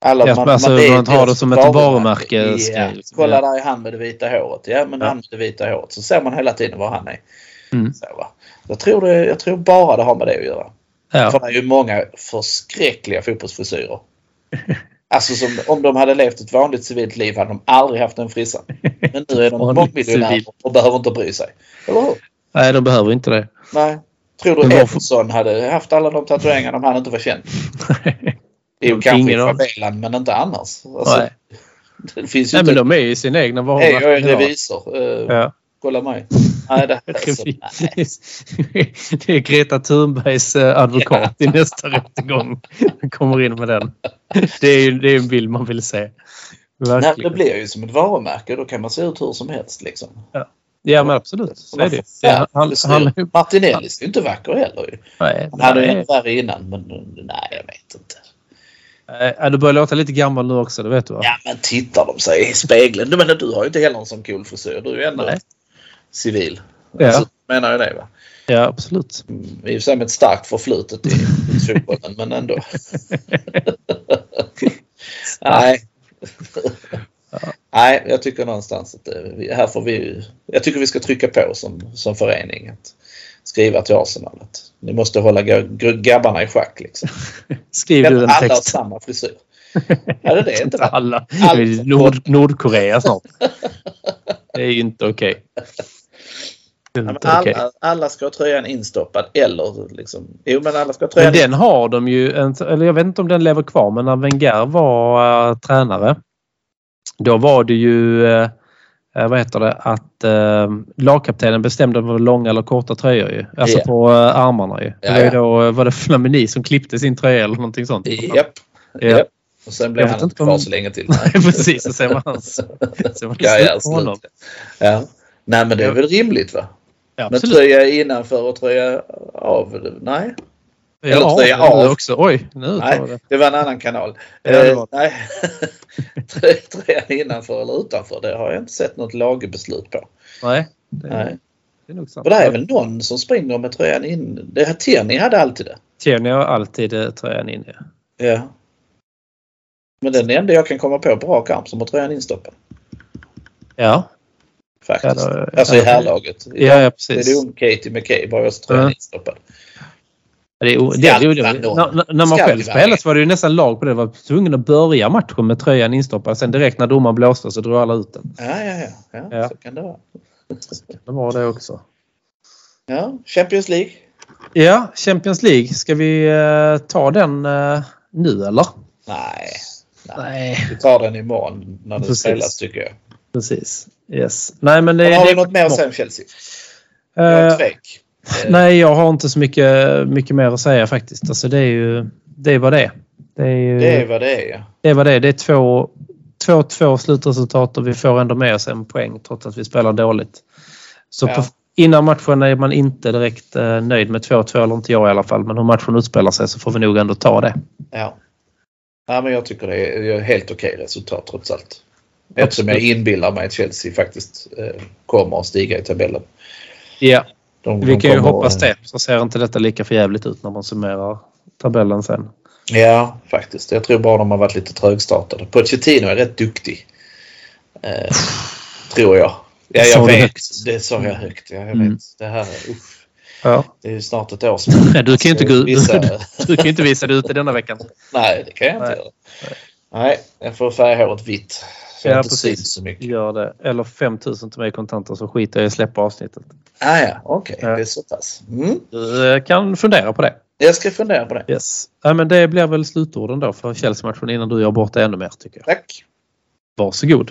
[SPEAKER 3] Alla,
[SPEAKER 2] Ja, alltså,
[SPEAKER 3] är
[SPEAKER 2] man tar det
[SPEAKER 3] deras
[SPEAKER 2] som ett varumärke, ska
[SPEAKER 3] Ja,
[SPEAKER 2] jag liksom-
[SPEAKER 3] kolla
[SPEAKER 2] ja.
[SPEAKER 3] där är han med det vita håret. Ja men
[SPEAKER 2] Ja.
[SPEAKER 3] han med det vita håret. Så ser man hela tiden var han är.
[SPEAKER 2] Mm.
[SPEAKER 3] Så, va? jag, tror det, jag tror bara det har med det att göra. För
[SPEAKER 2] Ja.
[SPEAKER 3] det är ju många förskräckliga fotbollsfrisyrer. Alltså som, om de hade levt ett vanligt civilt liv hade de aldrig haft den frissan. Men nu är de
[SPEAKER 2] Vanligt
[SPEAKER 3] mångmiljonärer
[SPEAKER 2] civilt.
[SPEAKER 3] och behöver inte bry sig. Eller hur?
[SPEAKER 2] Nej, de behöver inte det.
[SPEAKER 3] Nej. Tror du
[SPEAKER 2] Men varför-
[SPEAKER 3] Ederson hade haft alla de tatueringarna om han inte var känd? Det är ju
[SPEAKER 2] Ingen
[SPEAKER 3] kanske i
[SPEAKER 2] aning.
[SPEAKER 3] favelan men inte annars. Alltså,
[SPEAKER 2] Nej.
[SPEAKER 3] Det finns ju
[SPEAKER 2] Nej, men
[SPEAKER 3] inte.
[SPEAKER 2] de är ju sina egna varor.
[SPEAKER 3] Hej, jag är revisor. Eh,
[SPEAKER 2] Ja.
[SPEAKER 3] Kolla mig. Nej, det, alltså,
[SPEAKER 2] Det är Greta Thunbergs eh, advokat i nästa rättegång. Han kommer in med den. Det är ju det är en bild man vill se.
[SPEAKER 3] nej, det
[SPEAKER 2] Verkligen.
[SPEAKER 3] blir ju som ett varumärke. Då kan man se ut hur som helst. Liksom.
[SPEAKER 2] Ja, men absolut. Så är det ju. Det är- Han, han, han,
[SPEAKER 3] Martinelli är ju inte vacker heller. ju.
[SPEAKER 2] nej,
[SPEAKER 3] Han hade ju
[SPEAKER 2] nej.
[SPEAKER 3] ännu värre innan, men eh, nej, jag vet inte.
[SPEAKER 2] Nej, Äh, Du börjar låta lite gammal nu också, det vet du va?
[SPEAKER 3] Ja, men tittar de sig i spegeln. Du, menar, du har ju inte heller en sån cool frisyr. Du är ju ändå
[SPEAKER 2] Nej.
[SPEAKER 3] civil.
[SPEAKER 2] Ja.
[SPEAKER 3] Alltså, menar jag det, va?
[SPEAKER 2] Ja, absolut.
[SPEAKER 3] Mm, I och för sig med ett starkt förflutet i fotbollen, men ändå. Nej. Nej, jag tycker någonstans att eh, vi, här får vi ju- Jag tycker vi ska trycka på som, som förening. Att skriva till Arsenal att ni måste hålla gu- gu- grabbarna i schack. Liksom.
[SPEAKER 2] Skriv du den
[SPEAKER 3] Alla har
[SPEAKER 2] texten.
[SPEAKER 3] samma frisyr. Ja, det är det inte.
[SPEAKER 2] Inte
[SPEAKER 3] va?
[SPEAKER 2] alla. Det är Nord, Nordkorea snart. Det är ju inte okej. Det är
[SPEAKER 3] Ja, men
[SPEAKER 2] inte Mm, okej.
[SPEAKER 3] Alla, alla ska ha tröjan instoppad eller liksom... Jo, men alla ska ha
[SPEAKER 2] Men
[SPEAKER 3] tröjan
[SPEAKER 2] den har de ju, en- eller jag vet inte om den lever kvar, men när Wenger var eh, tränare då var det ju, eh, eh, vad heter det, att eh, lagkaptenen bestämde om det var långa eller korta tröjor ju. Alltså
[SPEAKER 3] Ja.
[SPEAKER 2] på eh, armarna ju.
[SPEAKER 3] Ja,
[SPEAKER 2] Det var ju
[SPEAKER 3] ja.
[SPEAKER 2] då, eh, var det Flamini som klippte sin tröja eller någonting sånt?
[SPEAKER 3] Japp.
[SPEAKER 2] Ja.
[SPEAKER 3] Japp. Och sen blev
[SPEAKER 2] Jag vet
[SPEAKER 3] han inte
[SPEAKER 2] inte
[SPEAKER 3] kvar
[SPEAKER 2] om-
[SPEAKER 3] så länge till.
[SPEAKER 2] Nej, precis. Så ser man hans. Så man
[SPEAKER 3] Ja, ja,
[SPEAKER 2] slut på honom.
[SPEAKER 3] slut. Ja. Nej, men det är väl rimligt va?
[SPEAKER 2] Ja,
[SPEAKER 3] Men
[SPEAKER 2] absolut.
[SPEAKER 3] tröja innanför och tröja av? Nej, eller
[SPEAKER 2] Ja,
[SPEAKER 3] tröja
[SPEAKER 2] nu
[SPEAKER 3] av.
[SPEAKER 2] också. Oj, nu tar
[SPEAKER 3] nej
[SPEAKER 2] det.
[SPEAKER 3] det var en annan kanal.
[SPEAKER 2] Ja, det
[SPEAKER 3] Eh,
[SPEAKER 2] var
[SPEAKER 3] nej. Trö- Tröja innanför eller utanför, det har jag inte sett något lagbeslut på.
[SPEAKER 2] Nej, det,
[SPEAKER 3] Nej.
[SPEAKER 2] det är nog sant.
[SPEAKER 3] Och det är väl någon som springer med tröjan in. Det här Tierney hade alltid det.
[SPEAKER 2] Tierney har alltid eh, tröjan inne.
[SPEAKER 3] Ja. Men den enda jag kan komma på på rak arm som har tröjan instoppad.
[SPEAKER 2] Ja,
[SPEAKER 3] Faktiskt.
[SPEAKER 2] Ja, det-
[SPEAKER 3] alltså i
[SPEAKER 2] ja.
[SPEAKER 3] herrlaget.
[SPEAKER 2] ja, ja
[SPEAKER 3] Det är det
[SPEAKER 2] precis.
[SPEAKER 3] ung Katie McCabe har jag tröjan
[SPEAKER 2] Ja.
[SPEAKER 3] instoppad.
[SPEAKER 2] Det är, o- det
[SPEAKER 3] Skallar
[SPEAKER 2] är orimligt.
[SPEAKER 3] någon.
[SPEAKER 2] När, när- när man
[SPEAKER 3] Skallar
[SPEAKER 2] själv spelade så var det ju nästan lag på det. Man var tvungen att börja matchen med tröjan instoppad. Sen direkt när domaren blåste så drog alla ut den.
[SPEAKER 3] Ja, ja, ja. ja,
[SPEAKER 2] Ja.
[SPEAKER 3] Så kan det vara.
[SPEAKER 2] Det var det också.
[SPEAKER 3] Ja, Champions League.
[SPEAKER 2] Ja, Champions League. Ska vi eh, ta den eh, nu eller?
[SPEAKER 3] Nej,
[SPEAKER 2] Nej,
[SPEAKER 3] vi tar den imorgon när det
[SPEAKER 2] Precis.
[SPEAKER 3] spelas tycker jag.
[SPEAKER 2] precis. Yes. Nej, men det,
[SPEAKER 3] har
[SPEAKER 2] det
[SPEAKER 3] du något mer att säga om Chelsea?
[SPEAKER 2] Eh,
[SPEAKER 3] Jag tvek. Eh,
[SPEAKER 2] Nej, jag har inte så mycket, mycket mer att säga faktiskt. Alltså, det är ju det är vad det är. Det är, ju,
[SPEAKER 3] Det är vad det är.
[SPEAKER 2] det är vad det är. Det är två, två, två slutresultat och vi får ändå med oss en poäng trots att vi spelar dåligt. Så
[SPEAKER 3] Ja.
[SPEAKER 2] på, innan matchen är man inte direkt eh, nöjd med 2-2, eller inte jag i alla fall. Men hur matchen utspelar sig så får vi nog ändå ta det.
[SPEAKER 3] Ja. Nej, men jag tycker det är helt okej resultat trots allt. Eftersom jag inbillar mig att Chelsea faktiskt eh, kommer att stiga i tabellen.
[SPEAKER 2] Ja,
[SPEAKER 3] De,
[SPEAKER 2] vi
[SPEAKER 3] de
[SPEAKER 2] kan ju
[SPEAKER 3] kommer-
[SPEAKER 2] hoppas det. Så ser inte detta lika förjävligt ut när man summerar tabellen sen.
[SPEAKER 3] Ja, faktiskt. Jag tror bara de har varit lite trögstartade. Pochettino är rätt duktig. Eh, tror jag. Ja,
[SPEAKER 2] sa
[SPEAKER 3] jag
[SPEAKER 2] du
[SPEAKER 3] vet.
[SPEAKER 2] högt.
[SPEAKER 3] Det sa jag högt. Ja, jag
[SPEAKER 2] Mm.
[SPEAKER 3] vet. Det här är, uff,
[SPEAKER 2] Ja.
[SPEAKER 3] det är ju snart ett år sedan.
[SPEAKER 2] Nej, du kan ju inte, gå ut-
[SPEAKER 3] Vissa-
[SPEAKER 2] du kan ju inte visa dig ute denna veckan.
[SPEAKER 3] Nej, det kan jag inte
[SPEAKER 2] Nej.
[SPEAKER 3] göra. Nej, jag får färga håret vitt. Så
[SPEAKER 2] Ja,
[SPEAKER 3] jag inte
[SPEAKER 2] precis.
[SPEAKER 3] syns så mycket.
[SPEAKER 2] Gör det. Eller 5000 till mig i kontanter så skiter jag i att släppa avsnittet.
[SPEAKER 3] Ah, ja, okej.
[SPEAKER 2] Ja.
[SPEAKER 3] Det är så pass. Mm.
[SPEAKER 2] Du eh, kan fundera på det.
[SPEAKER 3] Jag ska fundera på det.
[SPEAKER 2] Yes. Ja, men det blir väl slutorden då för Chelsea-matchen innan du gör bort det ännu mer tycker jag.
[SPEAKER 3] Tack.
[SPEAKER 2] Varsågod.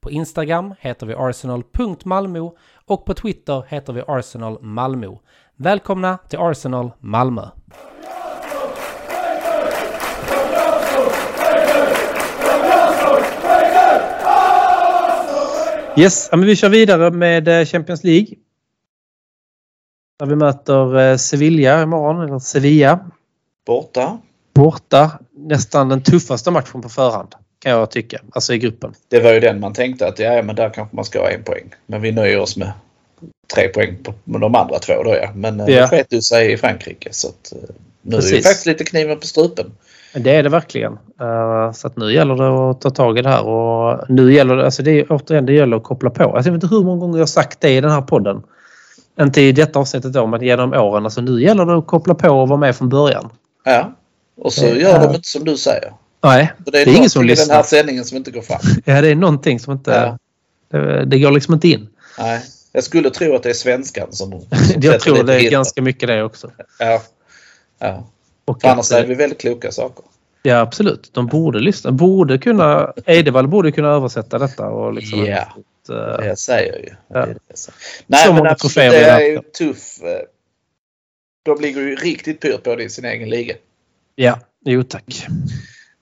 [SPEAKER 4] på Instagram heter vi arsenal.malmo och på Twitter heter vi Arsenal Malmö. Välkomna till Arsenal Malmö!
[SPEAKER 2] Yes, ja, men vi kör vidare med eh, Champions League. Där vi möter eh, Sevilla imorgon, eller Sevilla.
[SPEAKER 3] Borta.
[SPEAKER 2] borta nästan den tuffaste matchen på förhand. Kan jag tycka. Alltså i gruppen.
[SPEAKER 3] Det var ju den man tänkte att ja, men där kanske man ska ha en poäng. Men vi nöjer oss med tre poäng på med de andra två då ja. Men eh,
[SPEAKER 2] Ja.
[SPEAKER 3] det sket ju sig i Frankrike så att eh, nu är ju
[SPEAKER 2] Precis.
[SPEAKER 3] faktiskt lite kniven på strupen.
[SPEAKER 2] Men Det är det verkligen. Eh, Så att nu gäller det att ta tag i det här. Och nu gäller det, alltså det är, återigen, det gäller att koppla på. Alltså jag vet inte hur många gånger jag har sagt det i den här podden. Inte i detta avsnittet då, men genom åren. Alltså nu gäller det att koppla på och vara med från början.
[SPEAKER 3] Ja. Och så
[SPEAKER 2] Det
[SPEAKER 3] gör
[SPEAKER 2] är-
[SPEAKER 3] de inte som du säger.
[SPEAKER 2] Nej,
[SPEAKER 3] Så
[SPEAKER 2] det är,
[SPEAKER 3] någonting
[SPEAKER 2] ingen som
[SPEAKER 3] i den här
[SPEAKER 2] lyssnar.
[SPEAKER 3] sändningen som inte går fram.
[SPEAKER 2] Ja, det är någonting som inte...
[SPEAKER 3] Ja.
[SPEAKER 2] Det, det går liksom inte in.
[SPEAKER 3] Nej. Jag skulle tro att det är svenskan som... som sätter
[SPEAKER 2] Jag tror
[SPEAKER 3] lite
[SPEAKER 2] det är
[SPEAKER 3] hinder.
[SPEAKER 2] ganska mycket det också.
[SPEAKER 3] Ja. ja.
[SPEAKER 2] Och
[SPEAKER 3] För
[SPEAKER 2] att-
[SPEAKER 3] annars säger vi väldigt kloka saker.
[SPEAKER 2] Ja, absolut. De borde lyssna. Borde kunna, Eidevall borde kunna översätta detta. Och liksom,
[SPEAKER 3] Ja.
[SPEAKER 2] eh,
[SPEAKER 3] Det jag säger ju. Det
[SPEAKER 2] Ja.
[SPEAKER 3] är det jag säger. Nej,
[SPEAKER 2] Så
[SPEAKER 3] men
[SPEAKER 2] många
[SPEAKER 3] absolut,
[SPEAKER 2] troféer
[SPEAKER 3] det
[SPEAKER 2] vi har
[SPEAKER 3] är
[SPEAKER 2] haft,
[SPEAKER 3] ju
[SPEAKER 2] ja.
[SPEAKER 3] tuff. eh, De ligger ju riktigt pyrt på det i sin egen liga.
[SPEAKER 2] ja, jo tack.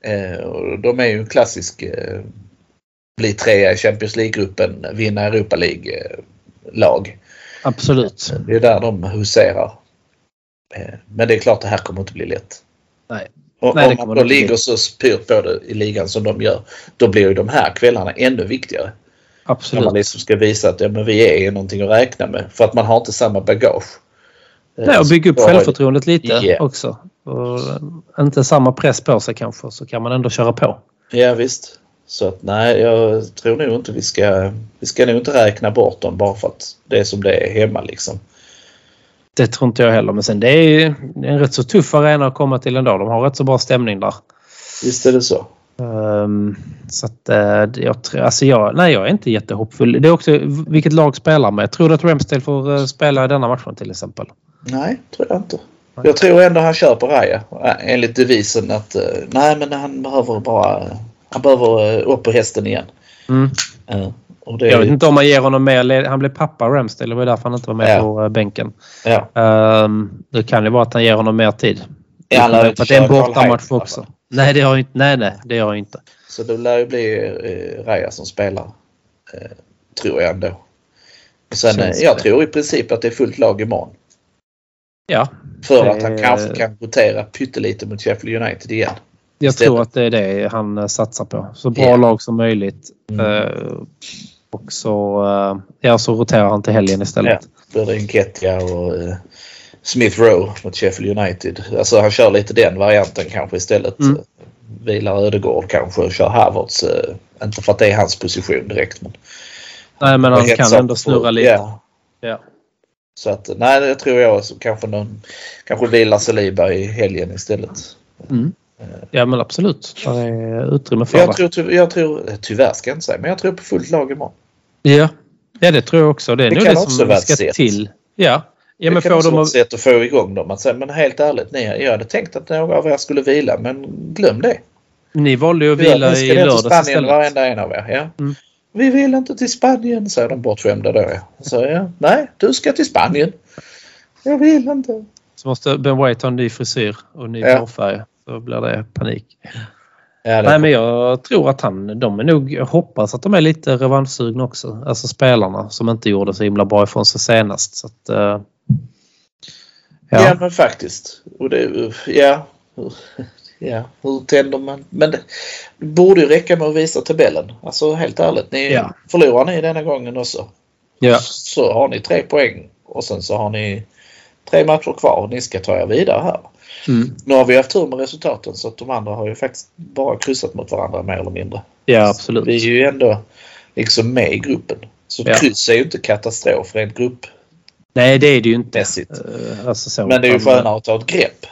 [SPEAKER 3] Eh, och De är ju en klassisk eh, bli trea i Champions League-gruppen, vinna Europa League-lag.
[SPEAKER 2] Absolut.
[SPEAKER 3] Det är där de huserar. Eh, Men det är klart, det här kommer inte bli lätt.
[SPEAKER 2] Nej.
[SPEAKER 3] Och
[SPEAKER 2] Nej, det
[SPEAKER 3] om man
[SPEAKER 2] kommer
[SPEAKER 3] då
[SPEAKER 2] det inte
[SPEAKER 3] ligger
[SPEAKER 2] bli.
[SPEAKER 3] så pyrt på det i ligan som de gör, då blir ju de här kvällarna ännu viktigare. När
[SPEAKER 2] Absolut.
[SPEAKER 3] man liksom ska visa att ja, men vi är någonting att räkna med. För att man har inte samma bagage. Eh,
[SPEAKER 2] Nej, och bygga upp
[SPEAKER 3] så-
[SPEAKER 2] självförtroendet lite
[SPEAKER 3] Ja.
[SPEAKER 2] också. Och eh, inte samma press på sig kanske, så kan man ändå köra på.
[SPEAKER 3] Ja, visst. Så att nej, jag tror nog inte vi ska... Vi ska nog inte räkna bort dem bara för att det är som det är hemma liksom.
[SPEAKER 2] Det tror inte jag heller, men sen det är ju en rätt så tuff arena att komma till ändå. De har rätt så bra stämning där.
[SPEAKER 3] Visst är det så?
[SPEAKER 2] Ehm, så att eh, det- jag tror, alltså jag, nej jag är inte jättehoppfull. Det är också v- vilket lag spelar med. Tror du att Ramsdale får eh, spela i denna matchen till exempel?
[SPEAKER 3] Nej, tror jag inte. Jag tror ändå han kör på Raja. eh, Enligt devisen att eh, nej, men han behöver bara... Han behöver eh, upp på hästen igen.
[SPEAKER 2] Mm.
[SPEAKER 3] Ja, och det
[SPEAKER 2] Jag vet
[SPEAKER 3] är,
[SPEAKER 2] inte om man ger honom mer led- Han blev pappa Ramsdale, det var ju därför han inte var med
[SPEAKER 3] Ja.
[SPEAKER 2] på eh, bänken.
[SPEAKER 3] ja.
[SPEAKER 2] Ehm, det kan ju vara att han ger honom mer tid.
[SPEAKER 3] Ja, han lär
[SPEAKER 2] För
[SPEAKER 3] inte
[SPEAKER 2] att det är en
[SPEAKER 3] köra Karl
[SPEAKER 2] bortamatch
[SPEAKER 3] Heinz,
[SPEAKER 2] också.
[SPEAKER 3] alltså.
[SPEAKER 2] Nej, det har jag inte. Nej, nej, det har jag inte.
[SPEAKER 3] Så det lär ju bli eh, Raja som spelar. Eh, tror jag ändå. Och sen, eh,
[SPEAKER 2] Känns
[SPEAKER 3] jag
[SPEAKER 2] det.
[SPEAKER 3] tror i princip att det är fullt lag imorgon.
[SPEAKER 2] Ja,
[SPEAKER 3] För
[SPEAKER 2] Det-
[SPEAKER 3] att han kanske kan rotera pyttelite mot Sheffield United igen.
[SPEAKER 2] jag
[SPEAKER 3] Stämmer.
[SPEAKER 2] tror att det är det han eh, satsar på. Så bra
[SPEAKER 3] Ja.
[SPEAKER 2] lag som möjligt.
[SPEAKER 3] Mm.
[SPEAKER 2] Eh, och så, eh, ja, så roterar han till helgen istället.
[SPEAKER 3] Då är det Enketia och eh, Smith Rowe mot Sheffield United. Alltså han kör lite den varianten kanske istället.
[SPEAKER 2] Mm.
[SPEAKER 3] Eh, Vilar Ödegård kanske och kör Havertz. Eh, inte för att det är hans position direkt. Men
[SPEAKER 2] Nej, men han
[SPEAKER 3] Det är
[SPEAKER 2] kan
[SPEAKER 3] helt
[SPEAKER 2] ändå
[SPEAKER 3] sant.
[SPEAKER 2] snurra lite.
[SPEAKER 3] Ja.
[SPEAKER 2] Ja.
[SPEAKER 3] Så att nej, det tror jag. Så kanske, någon, kanske vilar Saliba i helgen istället.
[SPEAKER 2] Ja, men absolut. Det är utrymme för
[SPEAKER 3] Jag
[SPEAKER 2] det.
[SPEAKER 3] tror, ty- jag tror, tyvärr ska jag inte säga, men jag tror på fullt lag imorgon.
[SPEAKER 2] Ja. ja, det tror jag också. Det är
[SPEAKER 3] Det
[SPEAKER 2] nog
[SPEAKER 3] kan
[SPEAKER 2] det
[SPEAKER 3] också
[SPEAKER 2] som
[SPEAKER 3] vara ett
[SPEAKER 2] ska
[SPEAKER 3] sätt.
[SPEAKER 2] till. Ja, ja men
[SPEAKER 3] det kan
[SPEAKER 2] får
[SPEAKER 3] också
[SPEAKER 2] de
[SPEAKER 3] vara
[SPEAKER 2] att
[SPEAKER 3] ett sätt att få igång dem. Att säga, men helt ärligt, ni, jag hade tänkt att några av er skulle vila, men glöm det.
[SPEAKER 2] Ni valde ju att
[SPEAKER 3] Ja,
[SPEAKER 2] vila
[SPEAKER 3] ni ska
[SPEAKER 2] i
[SPEAKER 3] ner till
[SPEAKER 2] lördags
[SPEAKER 3] Spanien
[SPEAKER 2] istället.
[SPEAKER 3] varenda en av er. Ja.
[SPEAKER 2] Mm.
[SPEAKER 3] Vi vill inte till Spanien, säger de bortskämda då. ja. Så, ja, nej, du ska till Spanien. Jag vill inte.
[SPEAKER 2] Så måste Ben White ha en ny frisyr och ny
[SPEAKER 3] Ja.
[SPEAKER 2] hårfärg. Så blir det panik.
[SPEAKER 3] Ja, det,
[SPEAKER 2] Nej, men jag tror att han, de är nog, jag hoppas att de är lite revanschsugna också. Alltså spelarna som inte gjorde så himla bra ifrån sig senast. Så att, eh,
[SPEAKER 3] ja.
[SPEAKER 2] ja.
[SPEAKER 3] men faktiskt. Och det, ja. Ja, hur tänder man? Men det det borde ju räcka med att visa tabellen. Alltså helt ärligt, ni
[SPEAKER 2] Ja.
[SPEAKER 3] förlorar ni denna gången också.
[SPEAKER 2] Ja.
[SPEAKER 3] så har ni tre poäng och sen så har ni tre matcher kvar och ni ska ta er vidare här.
[SPEAKER 2] Mm.
[SPEAKER 3] Nu har vi haft tur med resultaten så att de andra har ju faktiskt bara kryssat mot varandra mer eller mindre.
[SPEAKER 2] ja, absolut.
[SPEAKER 3] Vi är ju ändå liksom med i gruppen. Så
[SPEAKER 2] Ja.
[SPEAKER 3] kryss är ju inte katastrof rent gruppmässigt.
[SPEAKER 2] Nej, det är det ju inte.
[SPEAKER 3] Mässigt.
[SPEAKER 2] Eh, Alltså så,
[SPEAKER 3] Men det är ju
[SPEAKER 2] Utan,
[SPEAKER 3] skönare att ta ett grepp.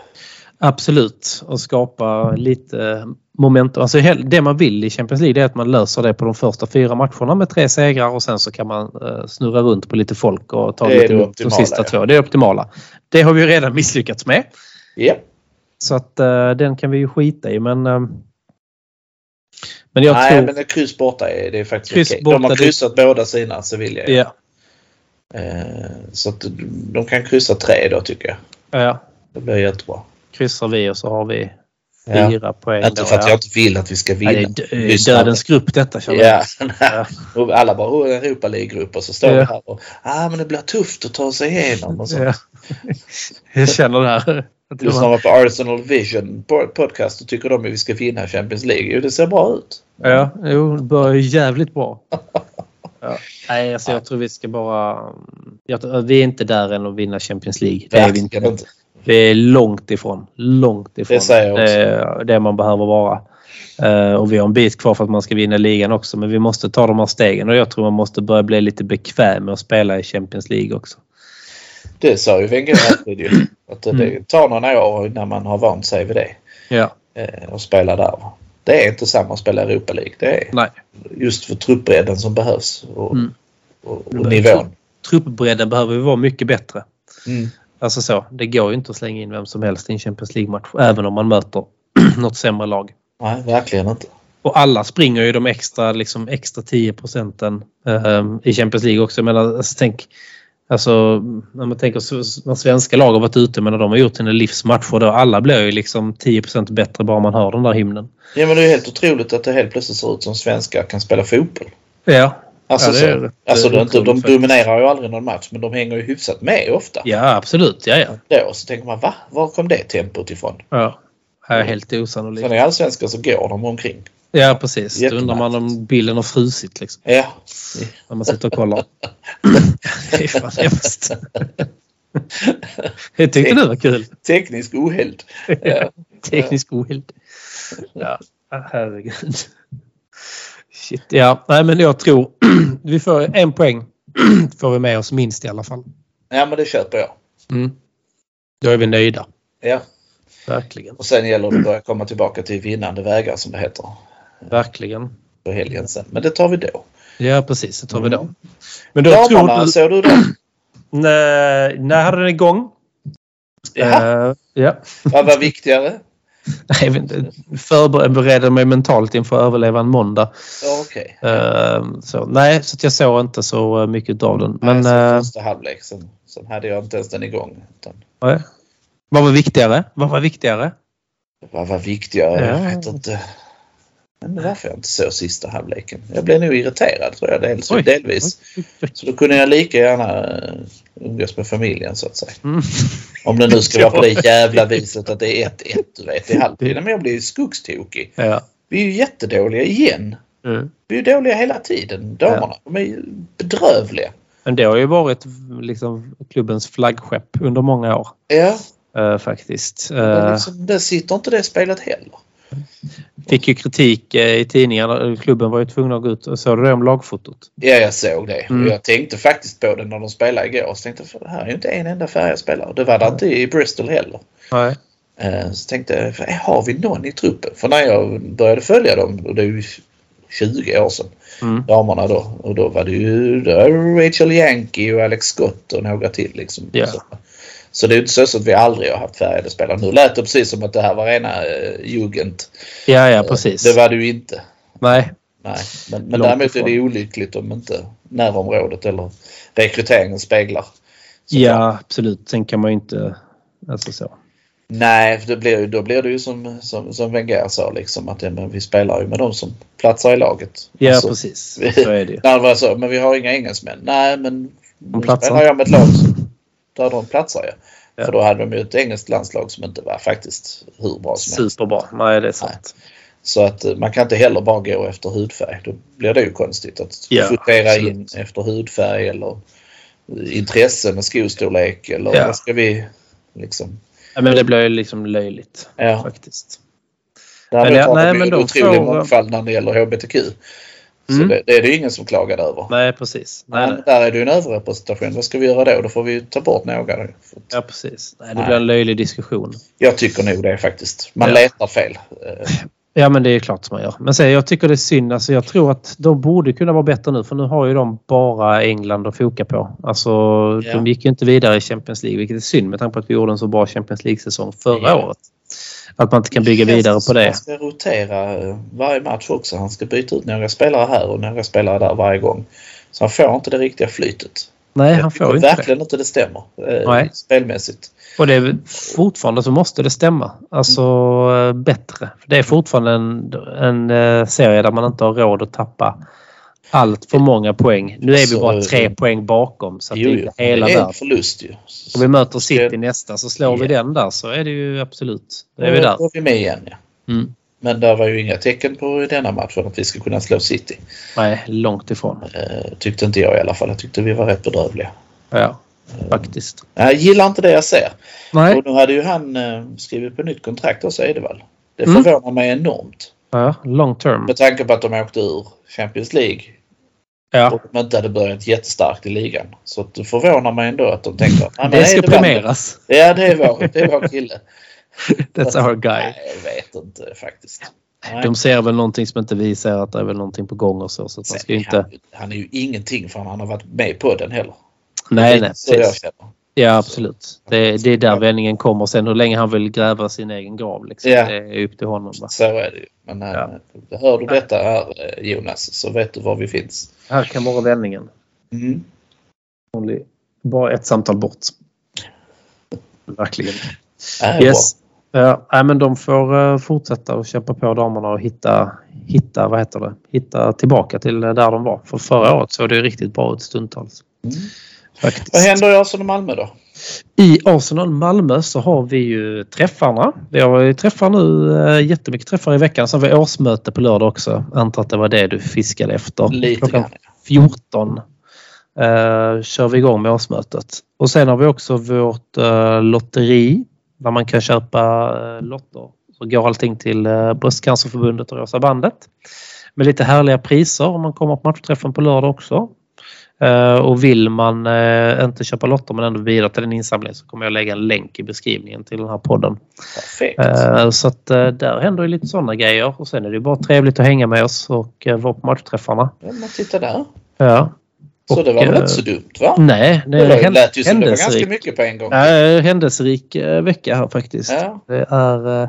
[SPEAKER 2] Absolut, och skapa lite eh, momentum. Alltså hel- det man vill i Champions League det är att man löser det på de första fyra matcherna med tre segrar och sen så kan man eh, snurra runt på lite folk och ta
[SPEAKER 3] Det är
[SPEAKER 2] lite
[SPEAKER 3] det
[SPEAKER 2] mot de
[SPEAKER 3] optimala,
[SPEAKER 2] sista
[SPEAKER 3] ja.
[SPEAKER 2] två. Det är det optimala. Det har vi ju redan misslyckats med.
[SPEAKER 3] Ja,
[SPEAKER 2] Så att eh, den kan vi ju skita i men... eh, men jag
[SPEAKER 3] nej
[SPEAKER 2] tror...
[SPEAKER 3] men ett kryss borta är, det är faktiskt
[SPEAKER 2] Kryss
[SPEAKER 3] okej. De
[SPEAKER 2] borta,
[SPEAKER 3] har
[SPEAKER 2] det-
[SPEAKER 3] kryssat båda sina Sevilla.
[SPEAKER 2] ja,
[SPEAKER 3] Eh, Så att de kan kryssa tre då tycker jag.
[SPEAKER 2] ja,
[SPEAKER 3] Det blir jättebra.
[SPEAKER 2] kryssar vi och så har vi Fyra poäng.
[SPEAKER 3] Inte
[SPEAKER 2] då,
[SPEAKER 3] för att
[SPEAKER 2] ja.
[SPEAKER 3] jag inte vill att vi ska vinna.
[SPEAKER 2] Nej, det är dö-
[SPEAKER 3] Lyssna.
[SPEAKER 2] dödens grupp detta känner jag.
[SPEAKER 3] Ja, och alla bara oh, Europa League-grupp och så står
[SPEAKER 2] Ja.
[SPEAKER 3] vi här och ah, men det blir tufft att ta sig igenom och så.
[SPEAKER 2] Ja. Jag känner det här. Jag tror
[SPEAKER 3] Lyssnar man på Arsenal Vision po- podcast och tycker de att vi ska vinna Champions League. Jo, det ser bra ut.
[SPEAKER 2] man- Ja, jo, det börjar ju jävligt bra. Ja. Nej, alltså jag tror vi ska bara... Jag tror, vi är inte där än att vinna Champions League. Det är vi
[SPEAKER 3] Verkligen
[SPEAKER 2] inte. Vi är långt ifrån. Långt ifrån.
[SPEAKER 3] Det säger jag också.
[SPEAKER 2] Det, är det man behöver vara. Eh, Och vi har en bit kvar för att man ska vinna ligan också. Men vi måste ta de här stegen och jag tror man måste börja bli lite bekväm med att spela i Champions League också.
[SPEAKER 3] Det sa ju Wenger alltid ju. Att det tar några år innan man har vant sig vid det.
[SPEAKER 2] Ja.
[SPEAKER 3] eh, Och spela där. Det är inte samma att spela Europa League. Det är
[SPEAKER 2] Nej.
[SPEAKER 3] just för truppbredden som behövs. Och,
[SPEAKER 2] Mm.
[SPEAKER 3] och, och nivån.
[SPEAKER 2] Truppbredden behöver ju vara mycket bättre.
[SPEAKER 3] Mm.
[SPEAKER 2] Alltså så. Det går ju inte att slänga in vem som helst i en Champions League-match. Även om man möter något sämre lag.
[SPEAKER 3] Nej, verkligen inte.
[SPEAKER 2] Och alla springer ju de extra, liksom, extra 10 procenten eh, i Champions League också. Men alltså, tänk, alltså, när man tänker så- så- när svenska lag har varit ute men när de har gjort sina livsmatcher då alla blir ju liksom 10 bättre bara man hör den där hymnen.
[SPEAKER 3] Ja, men det är helt otroligt att det helt plötsligt ser ut som svenskar kan spela fotboll.
[SPEAKER 2] Ja.
[SPEAKER 3] Alltså,
[SPEAKER 2] Ja, det
[SPEAKER 3] så,
[SPEAKER 2] är rätt,
[SPEAKER 3] alltså
[SPEAKER 2] eh,
[SPEAKER 3] det är inte, de
[SPEAKER 2] otroligt
[SPEAKER 3] dominerar ju aldrig någon match men de hänger ju hyfsat med ofta.
[SPEAKER 2] Ja, absolut. Ja, ja.
[SPEAKER 3] Då, så tänker man va? Var kom det tempot ifrån?
[SPEAKER 2] ja. Det är helt osannolikt.
[SPEAKER 3] Sen i allsvenskan så går de omkring.
[SPEAKER 2] Ja, precis. Då
[SPEAKER 3] Jättemärkligt.
[SPEAKER 2] undrar man om bilden har frusit liksom,
[SPEAKER 3] Ja,
[SPEAKER 2] när man sitter och kollar. det är fan hemskt. Det tyckte du var kul.
[SPEAKER 3] teknisk ohälld. Ja.
[SPEAKER 2] Teknisk ohild. Ja, herregud. Shit, ja. Nej, men jag tror vi får en poäng. får vi med oss minst i alla fall.
[SPEAKER 3] ja, men det köper jag.
[SPEAKER 2] Mm. Då är vi nöjda.
[SPEAKER 3] Ja.
[SPEAKER 2] Verkligen.
[SPEAKER 3] Och sen gäller det att börja komma tillbaka till vinnande vägar som det heter
[SPEAKER 2] Verkligen.
[SPEAKER 3] på helgen sen. Men det tar vi då.
[SPEAKER 2] Ja, precis. Det tar vi då.
[SPEAKER 3] Mm.
[SPEAKER 2] Men då
[SPEAKER 3] Damerna, såg du dem?
[SPEAKER 2] När, när hade den igång?
[SPEAKER 3] Ja,
[SPEAKER 2] Eh, ja.
[SPEAKER 3] vad var viktigare?
[SPEAKER 2] Nej, jag vet inte. förbereder mig mentalt inför att överleva en måndag.
[SPEAKER 3] Ja, okej.
[SPEAKER 2] Eh, så, nej, så att jag såg inte så eh, mycket av den. Men
[SPEAKER 3] Men,
[SPEAKER 2] eh,
[SPEAKER 3] första halvlek, sen, sen hade jag inte ens den igång. Utan,
[SPEAKER 2] nej. vad var viktigare? Vad var viktigare?
[SPEAKER 3] vad var viktigare?
[SPEAKER 2] Ja.
[SPEAKER 3] Jag vet inte. Men varför jag inte såg sista halvleken. Jag blev nog irriterad tror jag dels,
[SPEAKER 2] Oj.
[SPEAKER 3] delvis. Så då kunde jag lika gärna eh, umgås med familjen så att säga.
[SPEAKER 2] Mm.
[SPEAKER 3] Om det nu ska
[SPEAKER 2] Ja.
[SPEAKER 3] vara på det jävla viset att det är 1-1 du vet i halvtiden. Men jag blir ju skogstokig.
[SPEAKER 2] Ja.
[SPEAKER 3] Vi är ju jättedåliga igen.
[SPEAKER 2] Mm.
[SPEAKER 3] Vi är ju dåliga hela tiden. Damerna. De är ju bedrövliga.
[SPEAKER 2] Men det har ju varit liksom, klubbens flaggskepp under många år
[SPEAKER 3] Ja,
[SPEAKER 2] eh, faktiskt.
[SPEAKER 3] men
[SPEAKER 2] Eh,
[SPEAKER 3] liksom, det sitter inte det spelet heller.
[SPEAKER 2] fick ju kritik eh, i tidningarna. Klubben var ju tvungna att gå ut. Såg du det om lagfotot?
[SPEAKER 3] Ja, jag såg det.
[SPEAKER 2] Mm.
[SPEAKER 3] Och jag tänkte faktiskt på det när de spelade igår. Så tänkte jag, "För det här är ju inte en enda färgad spelare. Det var det inte i Bristol heller.
[SPEAKER 2] Nej.
[SPEAKER 3] Eh, Så tänkte jag, "För, eh, har vi någon i truppen? För när jag började följa dem, och det är ju 20 år sedan,
[SPEAKER 2] Mm.
[SPEAKER 3] damerna då. Och då var det ju då var det Rachel Yankee och Alex Scott och några till. Liksom.
[SPEAKER 2] Ja.
[SPEAKER 3] Så, så det är ju inte så att vi aldrig har haft färgade spelare. Nu lät det precis som att det här var rena eh, jugend.
[SPEAKER 2] Ja, ja precis.
[SPEAKER 3] Det var det ju inte.
[SPEAKER 2] Nej.
[SPEAKER 3] Nej, men, men
[SPEAKER 2] Långt
[SPEAKER 3] däremot är
[SPEAKER 2] ifrån.
[SPEAKER 3] det olyckligt om inte närområdet eller rekryteringen speglar.
[SPEAKER 2] Ja, absolut. Sen kan man ju inte... Alltså så.
[SPEAKER 3] Nej, för det blir, ju- då blir det ju som, som, som Wenger sa liksom att ja, men vi spelar ju med de som platsar i laget.
[SPEAKER 2] Ja,
[SPEAKER 3] Alltså,
[SPEAKER 2] precis. Så är det ju.
[SPEAKER 3] när det var så, men vi har inga engelsmän. Nej, men nu
[SPEAKER 2] platsar
[SPEAKER 3] spelar
[SPEAKER 2] inte.
[SPEAKER 3] jag med ett lag som- där de platsar ja.
[SPEAKER 2] Ja.
[SPEAKER 3] För då hade de ju ett engelskt landslag som inte var faktiskt hur bra som helst.
[SPEAKER 2] Superbra. Nej, det är sant.
[SPEAKER 3] Så att eh, man kan inte heller bara gå efter hudfärg. Då blir det ju konstigt att
[SPEAKER 2] Ja,
[SPEAKER 3] kvotera
[SPEAKER 2] absolut.
[SPEAKER 3] in efter hudfärg eller eh, intresse med skostorlek eller
[SPEAKER 2] Ja.
[SPEAKER 3] vad ska vi liksom.
[SPEAKER 2] Ja, men det blir ju liksom löjligt
[SPEAKER 3] Ja.
[SPEAKER 2] faktiskt.
[SPEAKER 3] Däremot
[SPEAKER 2] ja,
[SPEAKER 3] har
[SPEAKER 2] nej,
[SPEAKER 3] de
[SPEAKER 2] men
[SPEAKER 3] ju en
[SPEAKER 2] de
[SPEAKER 3] otrolig
[SPEAKER 2] får-
[SPEAKER 3] mångfald när det gäller HBTQ. Så
[SPEAKER 2] Mm.
[SPEAKER 3] det, det är det ju ingen som klagar över.
[SPEAKER 2] Nej, precis. Nej,
[SPEAKER 3] Men där är det ju en överrepresentation. Vad ska vi göra då? Då får vi ju ta bort några. För att
[SPEAKER 2] Ja, precis. Nej, det
[SPEAKER 3] Nej.
[SPEAKER 2] blir en löjlig diskussion.
[SPEAKER 3] Jag tycker nog det faktiskt. Man
[SPEAKER 2] Ja.
[SPEAKER 3] letar fel. Eh,
[SPEAKER 2] Ja, men det är klart som man gör. Men sen, jag tycker det är synd. Alltså, jag tror att de borde kunna vara bättre nu för nu har ju de bara England att foka på. Alltså,
[SPEAKER 3] Ja.
[SPEAKER 2] de gick ju inte vidare i Champions League, vilket är synd med tanke på att vi gjorde en så bra Champions League-säsong förra
[SPEAKER 3] Ja.
[SPEAKER 2] året. Att man inte kan bygga vidare på det.
[SPEAKER 3] Han ska rotera eh, varje match också. Han ska byta ut några spelare här och några spelare där varje gång. Så han får inte det riktiga flytet.
[SPEAKER 2] Nej, han får inte det.
[SPEAKER 3] verkligen inte det stämmer eh,
[SPEAKER 2] Nej.
[SPEAKER 3] spelmässigt.
[SPEAKER 2] Och det är väl- fortfarande så måste det stämma. Alltså eh,
[SPEAKER 3] Mm.
[SPEAKER 2] bättre. För det är fortfarande en, en eh, serie där man inte har råd att tappa allt för många poäng. Nu är vi
[SPEAKER 3] Så-
[SPEAKER 2] bara tre poäng bakom så att
[SPEAKER 3] Jo,
[SPEAKER 2] det är
[SPEAKER 3] jo.
[SPEAKER 2] inte
[SPEAKER 3] Det är
[SPEAKER 2] hela
[SPEAKER 3] en
[SPEAKER 2] världen.
[SPEAKER 3] förlust ju.
[SPEAKER 2] Och vi möter City
[SPEAKER 3] Ska-
[SPEAKER 2] nästa så slår vi den där så är det ju absolut. Då är
[SPEAKER 3] Då
[SPEAKER 2] vi där.
[SPEAKER 3] är vi med igen. Ja.
[SPEAKER 2] Mm.
[SPEAKER 3] Men där var ju inga tecken på i denna matchen att vi skulle kunna slå City.
[SPEAKER 2] Nej, långt ifrån.
[SPEAKER 3] Eh, tyckte inte jag i alla fall. Jag tyckte vi var rätt bedrövliga.
[SPEAKER 2] Ja, faktiskt.
[SPEAKER 3] Jag gillar inte det jag ser.
[SPEAKER 2] Nej.
[SPEAKER 3] Och nu hade ju han eh, skrivit på nytt kontrakt också, Edevall. Det
[SPEAKER 2] Mm.
[SPEAKER 3] förvånar mig enormt.
[SPEAKER 2] Ja, long term.
[SPEAKER 3] Med tanke på att de åkte ur Champions League
[SPEAKER 2] Ja.
[SPEAKER 3] och de inte hade börjat jättestarkt i ligan. Så att det förvånar mig ändå att de tänkte att "Ah, men
[SPEAKER 2] Det ska
[SPEAKER 3] Edevall-
[SPEAKER 2] premieras.
[SPEAKER 3] Ja, det är vår, det är vår kille.
[SPEAKER 2] That's our guy.
[SPEAKER 3] Nej, jag vet inte faktiskt. Nej.
[SPEAKER 2] De ser väl någonting som inte vi ser att det är väl någonting på gång och så. så att man ska ju inte...
[SPEAKER 3] han, han är ju ingenting förrän han har varit med på den heller.
[SPEAKER 2] Nej,
[SPEAKER 3] det
[SPEAKER 2] nej.
[SPEAKER 3] är så jag
[SPEAKER 2] Precis.
[SPEAKER 3] känner.
[SPEAKER 2] Ja, absolut. Det, det är där vändningen kommer. Sen hur länge han vill gräva sin egen grav. Liksom.
[SPEAKER 3] Ja.
[SPEAKER 2] Det är upp till honom. Va?
[SPEAKER 3] Så är det ju. Men eh, hör du detta här eh, Jonas så vet du var vi finns.
[SPEAKER 2] Här kan vara vändningen.
[SPEAKER 3] Mm.
[SPEAKER 2] Only- Bara ett samtal bort. Verkligen.
[SPEAKER 3] Äh,
[SPEAKER 2] Yes. Ja, Eh, nej, men de får eh, fortsätta att kämpa på damerna och hitta, hitta, vad heter det? hitta tillbaka till eh, där de var. För förra året såg det riktigt bra ut stundtals.
[SPEAKER 3] Mm.
[SPEAKER 2] Faktiskt.
[SPEAKER 3] Vad händer i Arsenal Malmö då?
[SPEAKER 2] I Arsenal Malmö så har vi ju träffarna. Vi har ju träffar nu, eh, jättemycket träffar i veckan. Sen har vi årsmöte på lördag också. Antar att det var det du fiskade efter.
[SPEAKER 3] Lite
[SPEAKER 2] Klockan
[SPEAKER 3] grann.
[SPEAKER 2] 14 eh, kör vi igång med årsmötet. Och sen har vi också vårt eh, lotteri där man kan köpa eh, lotter. Så går allting till eh, Bröstcancerförbundet och Rosa bandet. Med lite härliga priser om man kommer på matchträffen på lördag också. Eh, och vill man eh, inte köpa lotter men ändå bidra till den insamlingen så kommer jag lägga en länk i beskrivningen till den här podden.
[SPEAKER 3] Perfekt.
[SPEAKER 2] Eh, Så att eh, där händer ju lite sådana grejer och sen är det ju bara trevligt att hänga med oss och eh, vara på matchträffarna.
[SPEAKER 3] Ja, men titta där.
[SPEAKER 2] Ja.
[SPEAKER 3] Så
[SPEAKER 2] Och,
[SPEAKER 3] det var väl
[SPEAKER 2] eh,
[SPEAKER 3] inte så dumt va?
[SPEAKER 2] Nej, det är
[SPEAKER 3] det
[SPEAKER 2] en
[SPEAKER 3] lät ju som det var ganska
[SPEAKER 2] händelserik,
[SPEAKER 3] mycket på en gång.
[SPEAKER 2] äh, händelserik eh, vecka här faktiskt.
[SPEAKER 3] Ja,
[SPEAKER 2] Det är eh,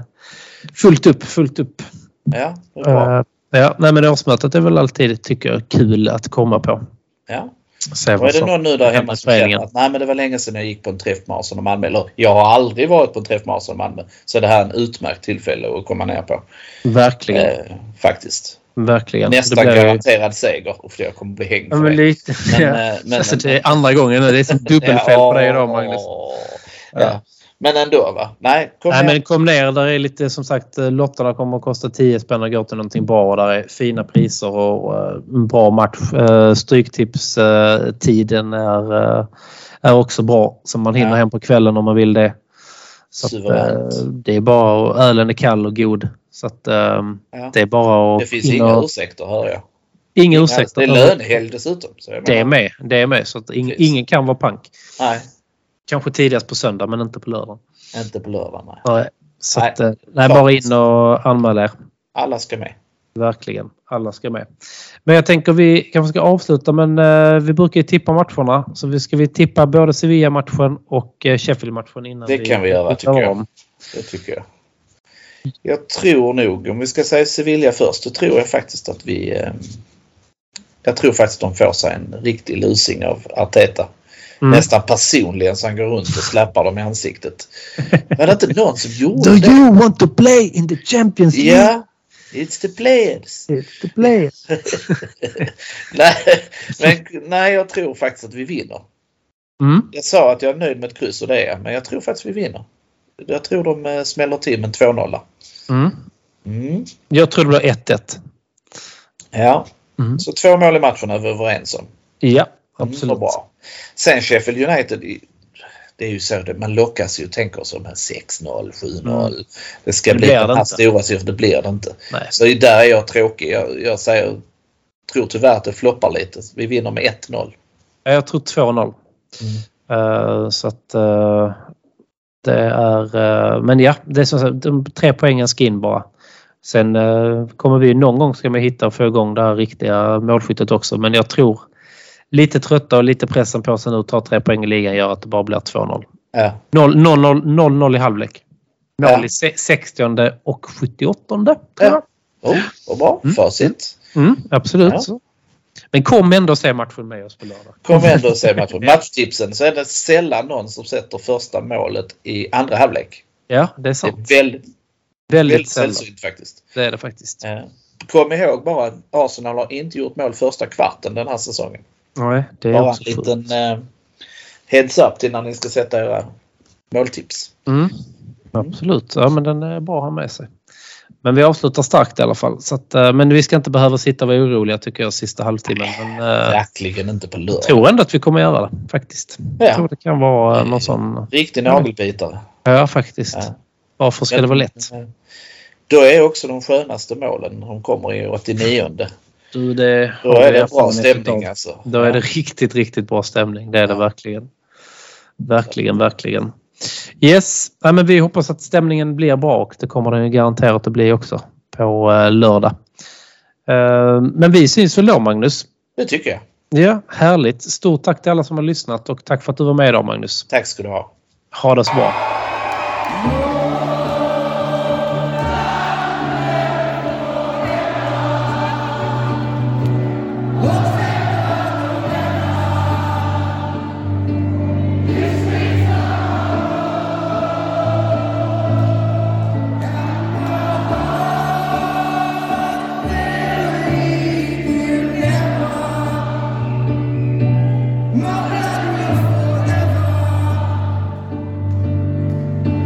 [SPEAKER 2] fullt upp, fullt upp.
[SPEAKER 3] ja, det är bra.
[SPEAKER 2] Eh, Ja, nej, men årsmötet är väl alltid, tycker jag, kul att komma på.
[SPEAKER 3] Ja.
[SPEAKER 2] Se
[SPEAKER 3] Och
[SPEAKER 2] vad
[SPEAKER 3] är det
[SPEAKER 2] som-
[SPEAKER 3] någon nu där hemma som
[SPEAKER 2] föreningen.
[SPEAKER 3] känner att nej men det var länge sedan jag gick på en träff med Arsenal Malmö eller jag har aldrig varit på en träff med Arsenal Malmö så det här är en utmärkt tillfälle att komma ner på.
[SPEAKER 2] Verkligen,
[SPEAKER 3] Eh, faktiskt.
[SPEAKER 2] verkligen.
[SPEAKER 3] Nästan
[SPEAKER 2] blir ju-
[SPEAKER 3] garanterad seger. Uff, jag kommer bli hängd
[SPEAKER 2] Ja,
[SPEAKER 3] för
[SPEAKER 2] men
[SPEAKER 3] det.
[SPEAKER 2] lite.
[SPEAKER 3] Men,
[SPEAKER 2] ja.
[SPEAKER 3] eh, men-
[SPEAKER 2] alltså, det är andra gången nu. Det är som dubbelfel på dig idag, Magnus.
[SPEAKER 3] Ja.
[SPEAKER 2] Ja.
[SPEAKER 3] Men ändå va? Nej, kom
[SPEAKER 2] Nej,
[SPEAKER 3] ner.
[SPEAKER 2] men kom ner. Där är lite som sagt eh, lotterna kommer att kosta 10 spänn och gå till någonting bra. Och där är fina priser och eh, en bra match. Eh, Stryktipstiden är, eh, är också bra. Så man hinner
[SPEAKER 3] Ja.
[SPEAKER 2] hem på kvällen om man vill det. Så att,
[SPEAKER 3] Suveränt.
[SPEAKER 2] eh, det är bara och ölen är kall och god. Så att, eh,
[SPEAKER 3] Ja.
[SPEAKER 2] det är bara att...
[SPEAKER 3] Det finns
[SPEAKER 2] in
[SPEAKER 3] inga
[SPEAKER 2] och-
[SPEAKER 3] ursäkter hör jag.
[SPEAKER 2] inga
[SPEAKER 3] Inga-
[SPEAKER 2] ursäkter.
[SPEAKER 3] Det är lönehelg dessutom. Så jag
[SPEAKER 2] Det är
[SPEAKER 3] menar,
[SPEAKER 2] med. Det är med. Så att ing,
[SPEAKER 3] Precis.
[SPEAKER 2] ingen kan vara pank.
[SPEAKER 3] Nej,
[SPEAKER 2] Kanske tidigast på söndag men inte på lördag.
[SPEAKER 3] inte på lördag. Nej.
[SPEAKER 2] Nej, så
[SPEAKER 3] Nej.
[SPEAKER 2] att, eh, nej, bara in och anmäl er.
[SPEAKER 3] Alla ska med.
[SPEAKER 2] Verkligen. Alla ska med. Men jag tänker vi kanske ska avsluta men eh, vi brukar ju tippa matcherna. Så vi ska vi tippa både Sevilla-matchen och eh, Sheffield-matchen innan
[SPEAKER 3] Det kan vi göra, tycker
[SPEAKER 2] tar
[SPEAKER 3] jag.
[SPEAKER 2] om.
[SPEAKER 3] Det tycker jag. Jag tror nog, om vi ska säga Sevilla först, då tror jag faktiskt att vi... eh, Jag tror faktiskt de får sig en riktig lusing av Arteta.
[SPEAKER 2] Mm.
[SPEAKER 3] Nästan personligen så han går runt och slappar dem i ansiktet. Var det inte någon som gjorde
[SPEAKER 2] Do
[SPEAKER 3] det?
[SPEAKER 2] you want to play in the Champions
[SPEAKER 3] Ja,
[SPEAKER 2] League?
[SPEAKER 3] it's the players.
[SPEAKER 2] It's the players.
[SPEAKER 3] Nej, men, nej, jag tror faktiskt att vi vinner.
[SPEAKER 2] Mm.
[SPEAKER 3] Jag sa att jag är nöjd med ett kryss och det är jag, men jag tror faktiskt vi vinner. Jag tror de eh, smäller till med en 2-0.
[SPEAKER 2] Mm.
[SPEAKER 3] Mm.
[SPEAKER 2] Jag tror det blir 1-1.
[SPEAKER 3] Ja,
[SPEAKER 2] Mm.
[SPEAKER 3] så två mål i matchen är vi överens om.
[SPEAKER 2] Ja,
[SPEAKER 3] Mm,
[SPEAKER 2] absolut.
[SPEAKER 3] vad Bra. Sen Sheffield United, i- det är ju så det, man lockas ju och tänker sig de här 6-0, 7-0. Det ska
[SPEAKER 2] Mm. Det
[SPEAKER 3] bli
[SPEAKER 2] blir
[SPEAKER 3] den
[SPEAKER 2] det
[SPEAKER 3] här
[SPEAKER 2] inte.
[SPEAKER 3] stora siffran, det blir det inte.
[SPEAKER 2] Nej.
[SPEAKER 3] Så det är där är jag tråkig. Jag, jag säger, tror tyvärr att det floppar lite. Vi vinner med 1-0.
[SPEAKER 2] Ja, Jag tror 2-0.
[SPEAKER 3] Mm.
[SPEAKER 2] Eh, så att eh, det är... eh, men ja, det är som sagt, de tre poängen ska in bara. Sen eh, kommer vi någon gång ska man hitta och få igång det här riktiga målskyttet också. Men jag tror lite trötta och lite pressen på sig nu ta tre poäng i ligan gör att det bara blir 2-0.
[SPEAKER 3] Ja.
[SPEAKER 2] 0-0 0-0 i halvlek. Mål
[SPEAKER 3] Ja.
[SPEAKER 2] i se- 60 och 78 tror
[SPEAKER 3] Ja.
[SPEAKER 2] jag.
[SPEAKER 3] Oh, vad bra.
[SPEAKER 2] Mm.
[SPEAKER 3] Facit.
[SPEAKER 2] Mm, absolut.
[SPEAKER 3] Ja.
[SPEAKER 2] Så. Men kom ändå och se matchen med oss på lördag.
[SPEAKER 3] Kom ändå och se matchen. Matchtipsen så är det sällan någon som sätter första målet i andra halvlek.
[SPEAKER 2] Ja, det är
[SPEAKER 3] Det
[SPEAKER 2] sant.
[SPEAKER 3] är väldigt,
[SPEAKER 2] väldigt
[SPEAKER 3] väldigt
[SPEAKER 2] sällan.
[SPEAKER 3] sällsynt faktiskt.
[SPEAKER 2] Det är det faktiskt.
[SPEAKER 3] Eh, Kom ihåg bara att Arsenal har inte gjort mål första kvarten den här säsongen.
[SPEAKER 2] Nej, det är
[SPEAKER 3] Bara en
[SPEAKER 2] också sjukt.
[SPEAKER 3] liten eh, heads up till när ni ska sätta era måltips.
[SPEAKER 2] Mm. Absolut, ja, men den är bra att ha med sig. Men vi avslutar starkt i alla fall. Så att, eh, men vi ska inte behöva sitta och vara oroliga tycker jag sista halvtimmen. Men, eh,
[SPEAKER 3] Verkligen inte på
[SPEAKER 2] jag
[SPEAKER 3] lördag.
[SPEAKER 2] tror ändå att vi kommer göra det faktiskt. Jag tror
[SPEAKER 3] Ja,
[SPEAKER 2] det kan vara eh, någon sån...
[SPEAKER 3] riktig nagelbitare.
[SPEAKER 2] Ja, faktiskt.
[SPEAKER 3] Ja.
[SPEAKER 2] Varför ska det vara lätt?
[SPEAKER 3] Då är också de skönaste målen de kommer i 89.
[SPEAKER 2] Du, det
[SPEAKER 3] Då är det bra stämning alltså.
[SPEAKER 2] Då är det riktigt, riktigt bra stämning. Det är det verkligen. Verkligen, verkligen. Yes, Nej, men vi hoppas att stämningen blir bra och det kommer den ju garanterat att bli också på eh, lördag. Eh, men vi syns väl då Magnus?
[SPEAKER 3] Det tycker jag.
[SPEAKER 2] Ja, härligt. Stort tack till alla som har lyssnat och tack för att du var med idag Magnus.
[SPEAKER 3] Tack ska du ha.
[SPEAKER 2] Ha det så bra.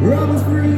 [SPEAKER 5] Run through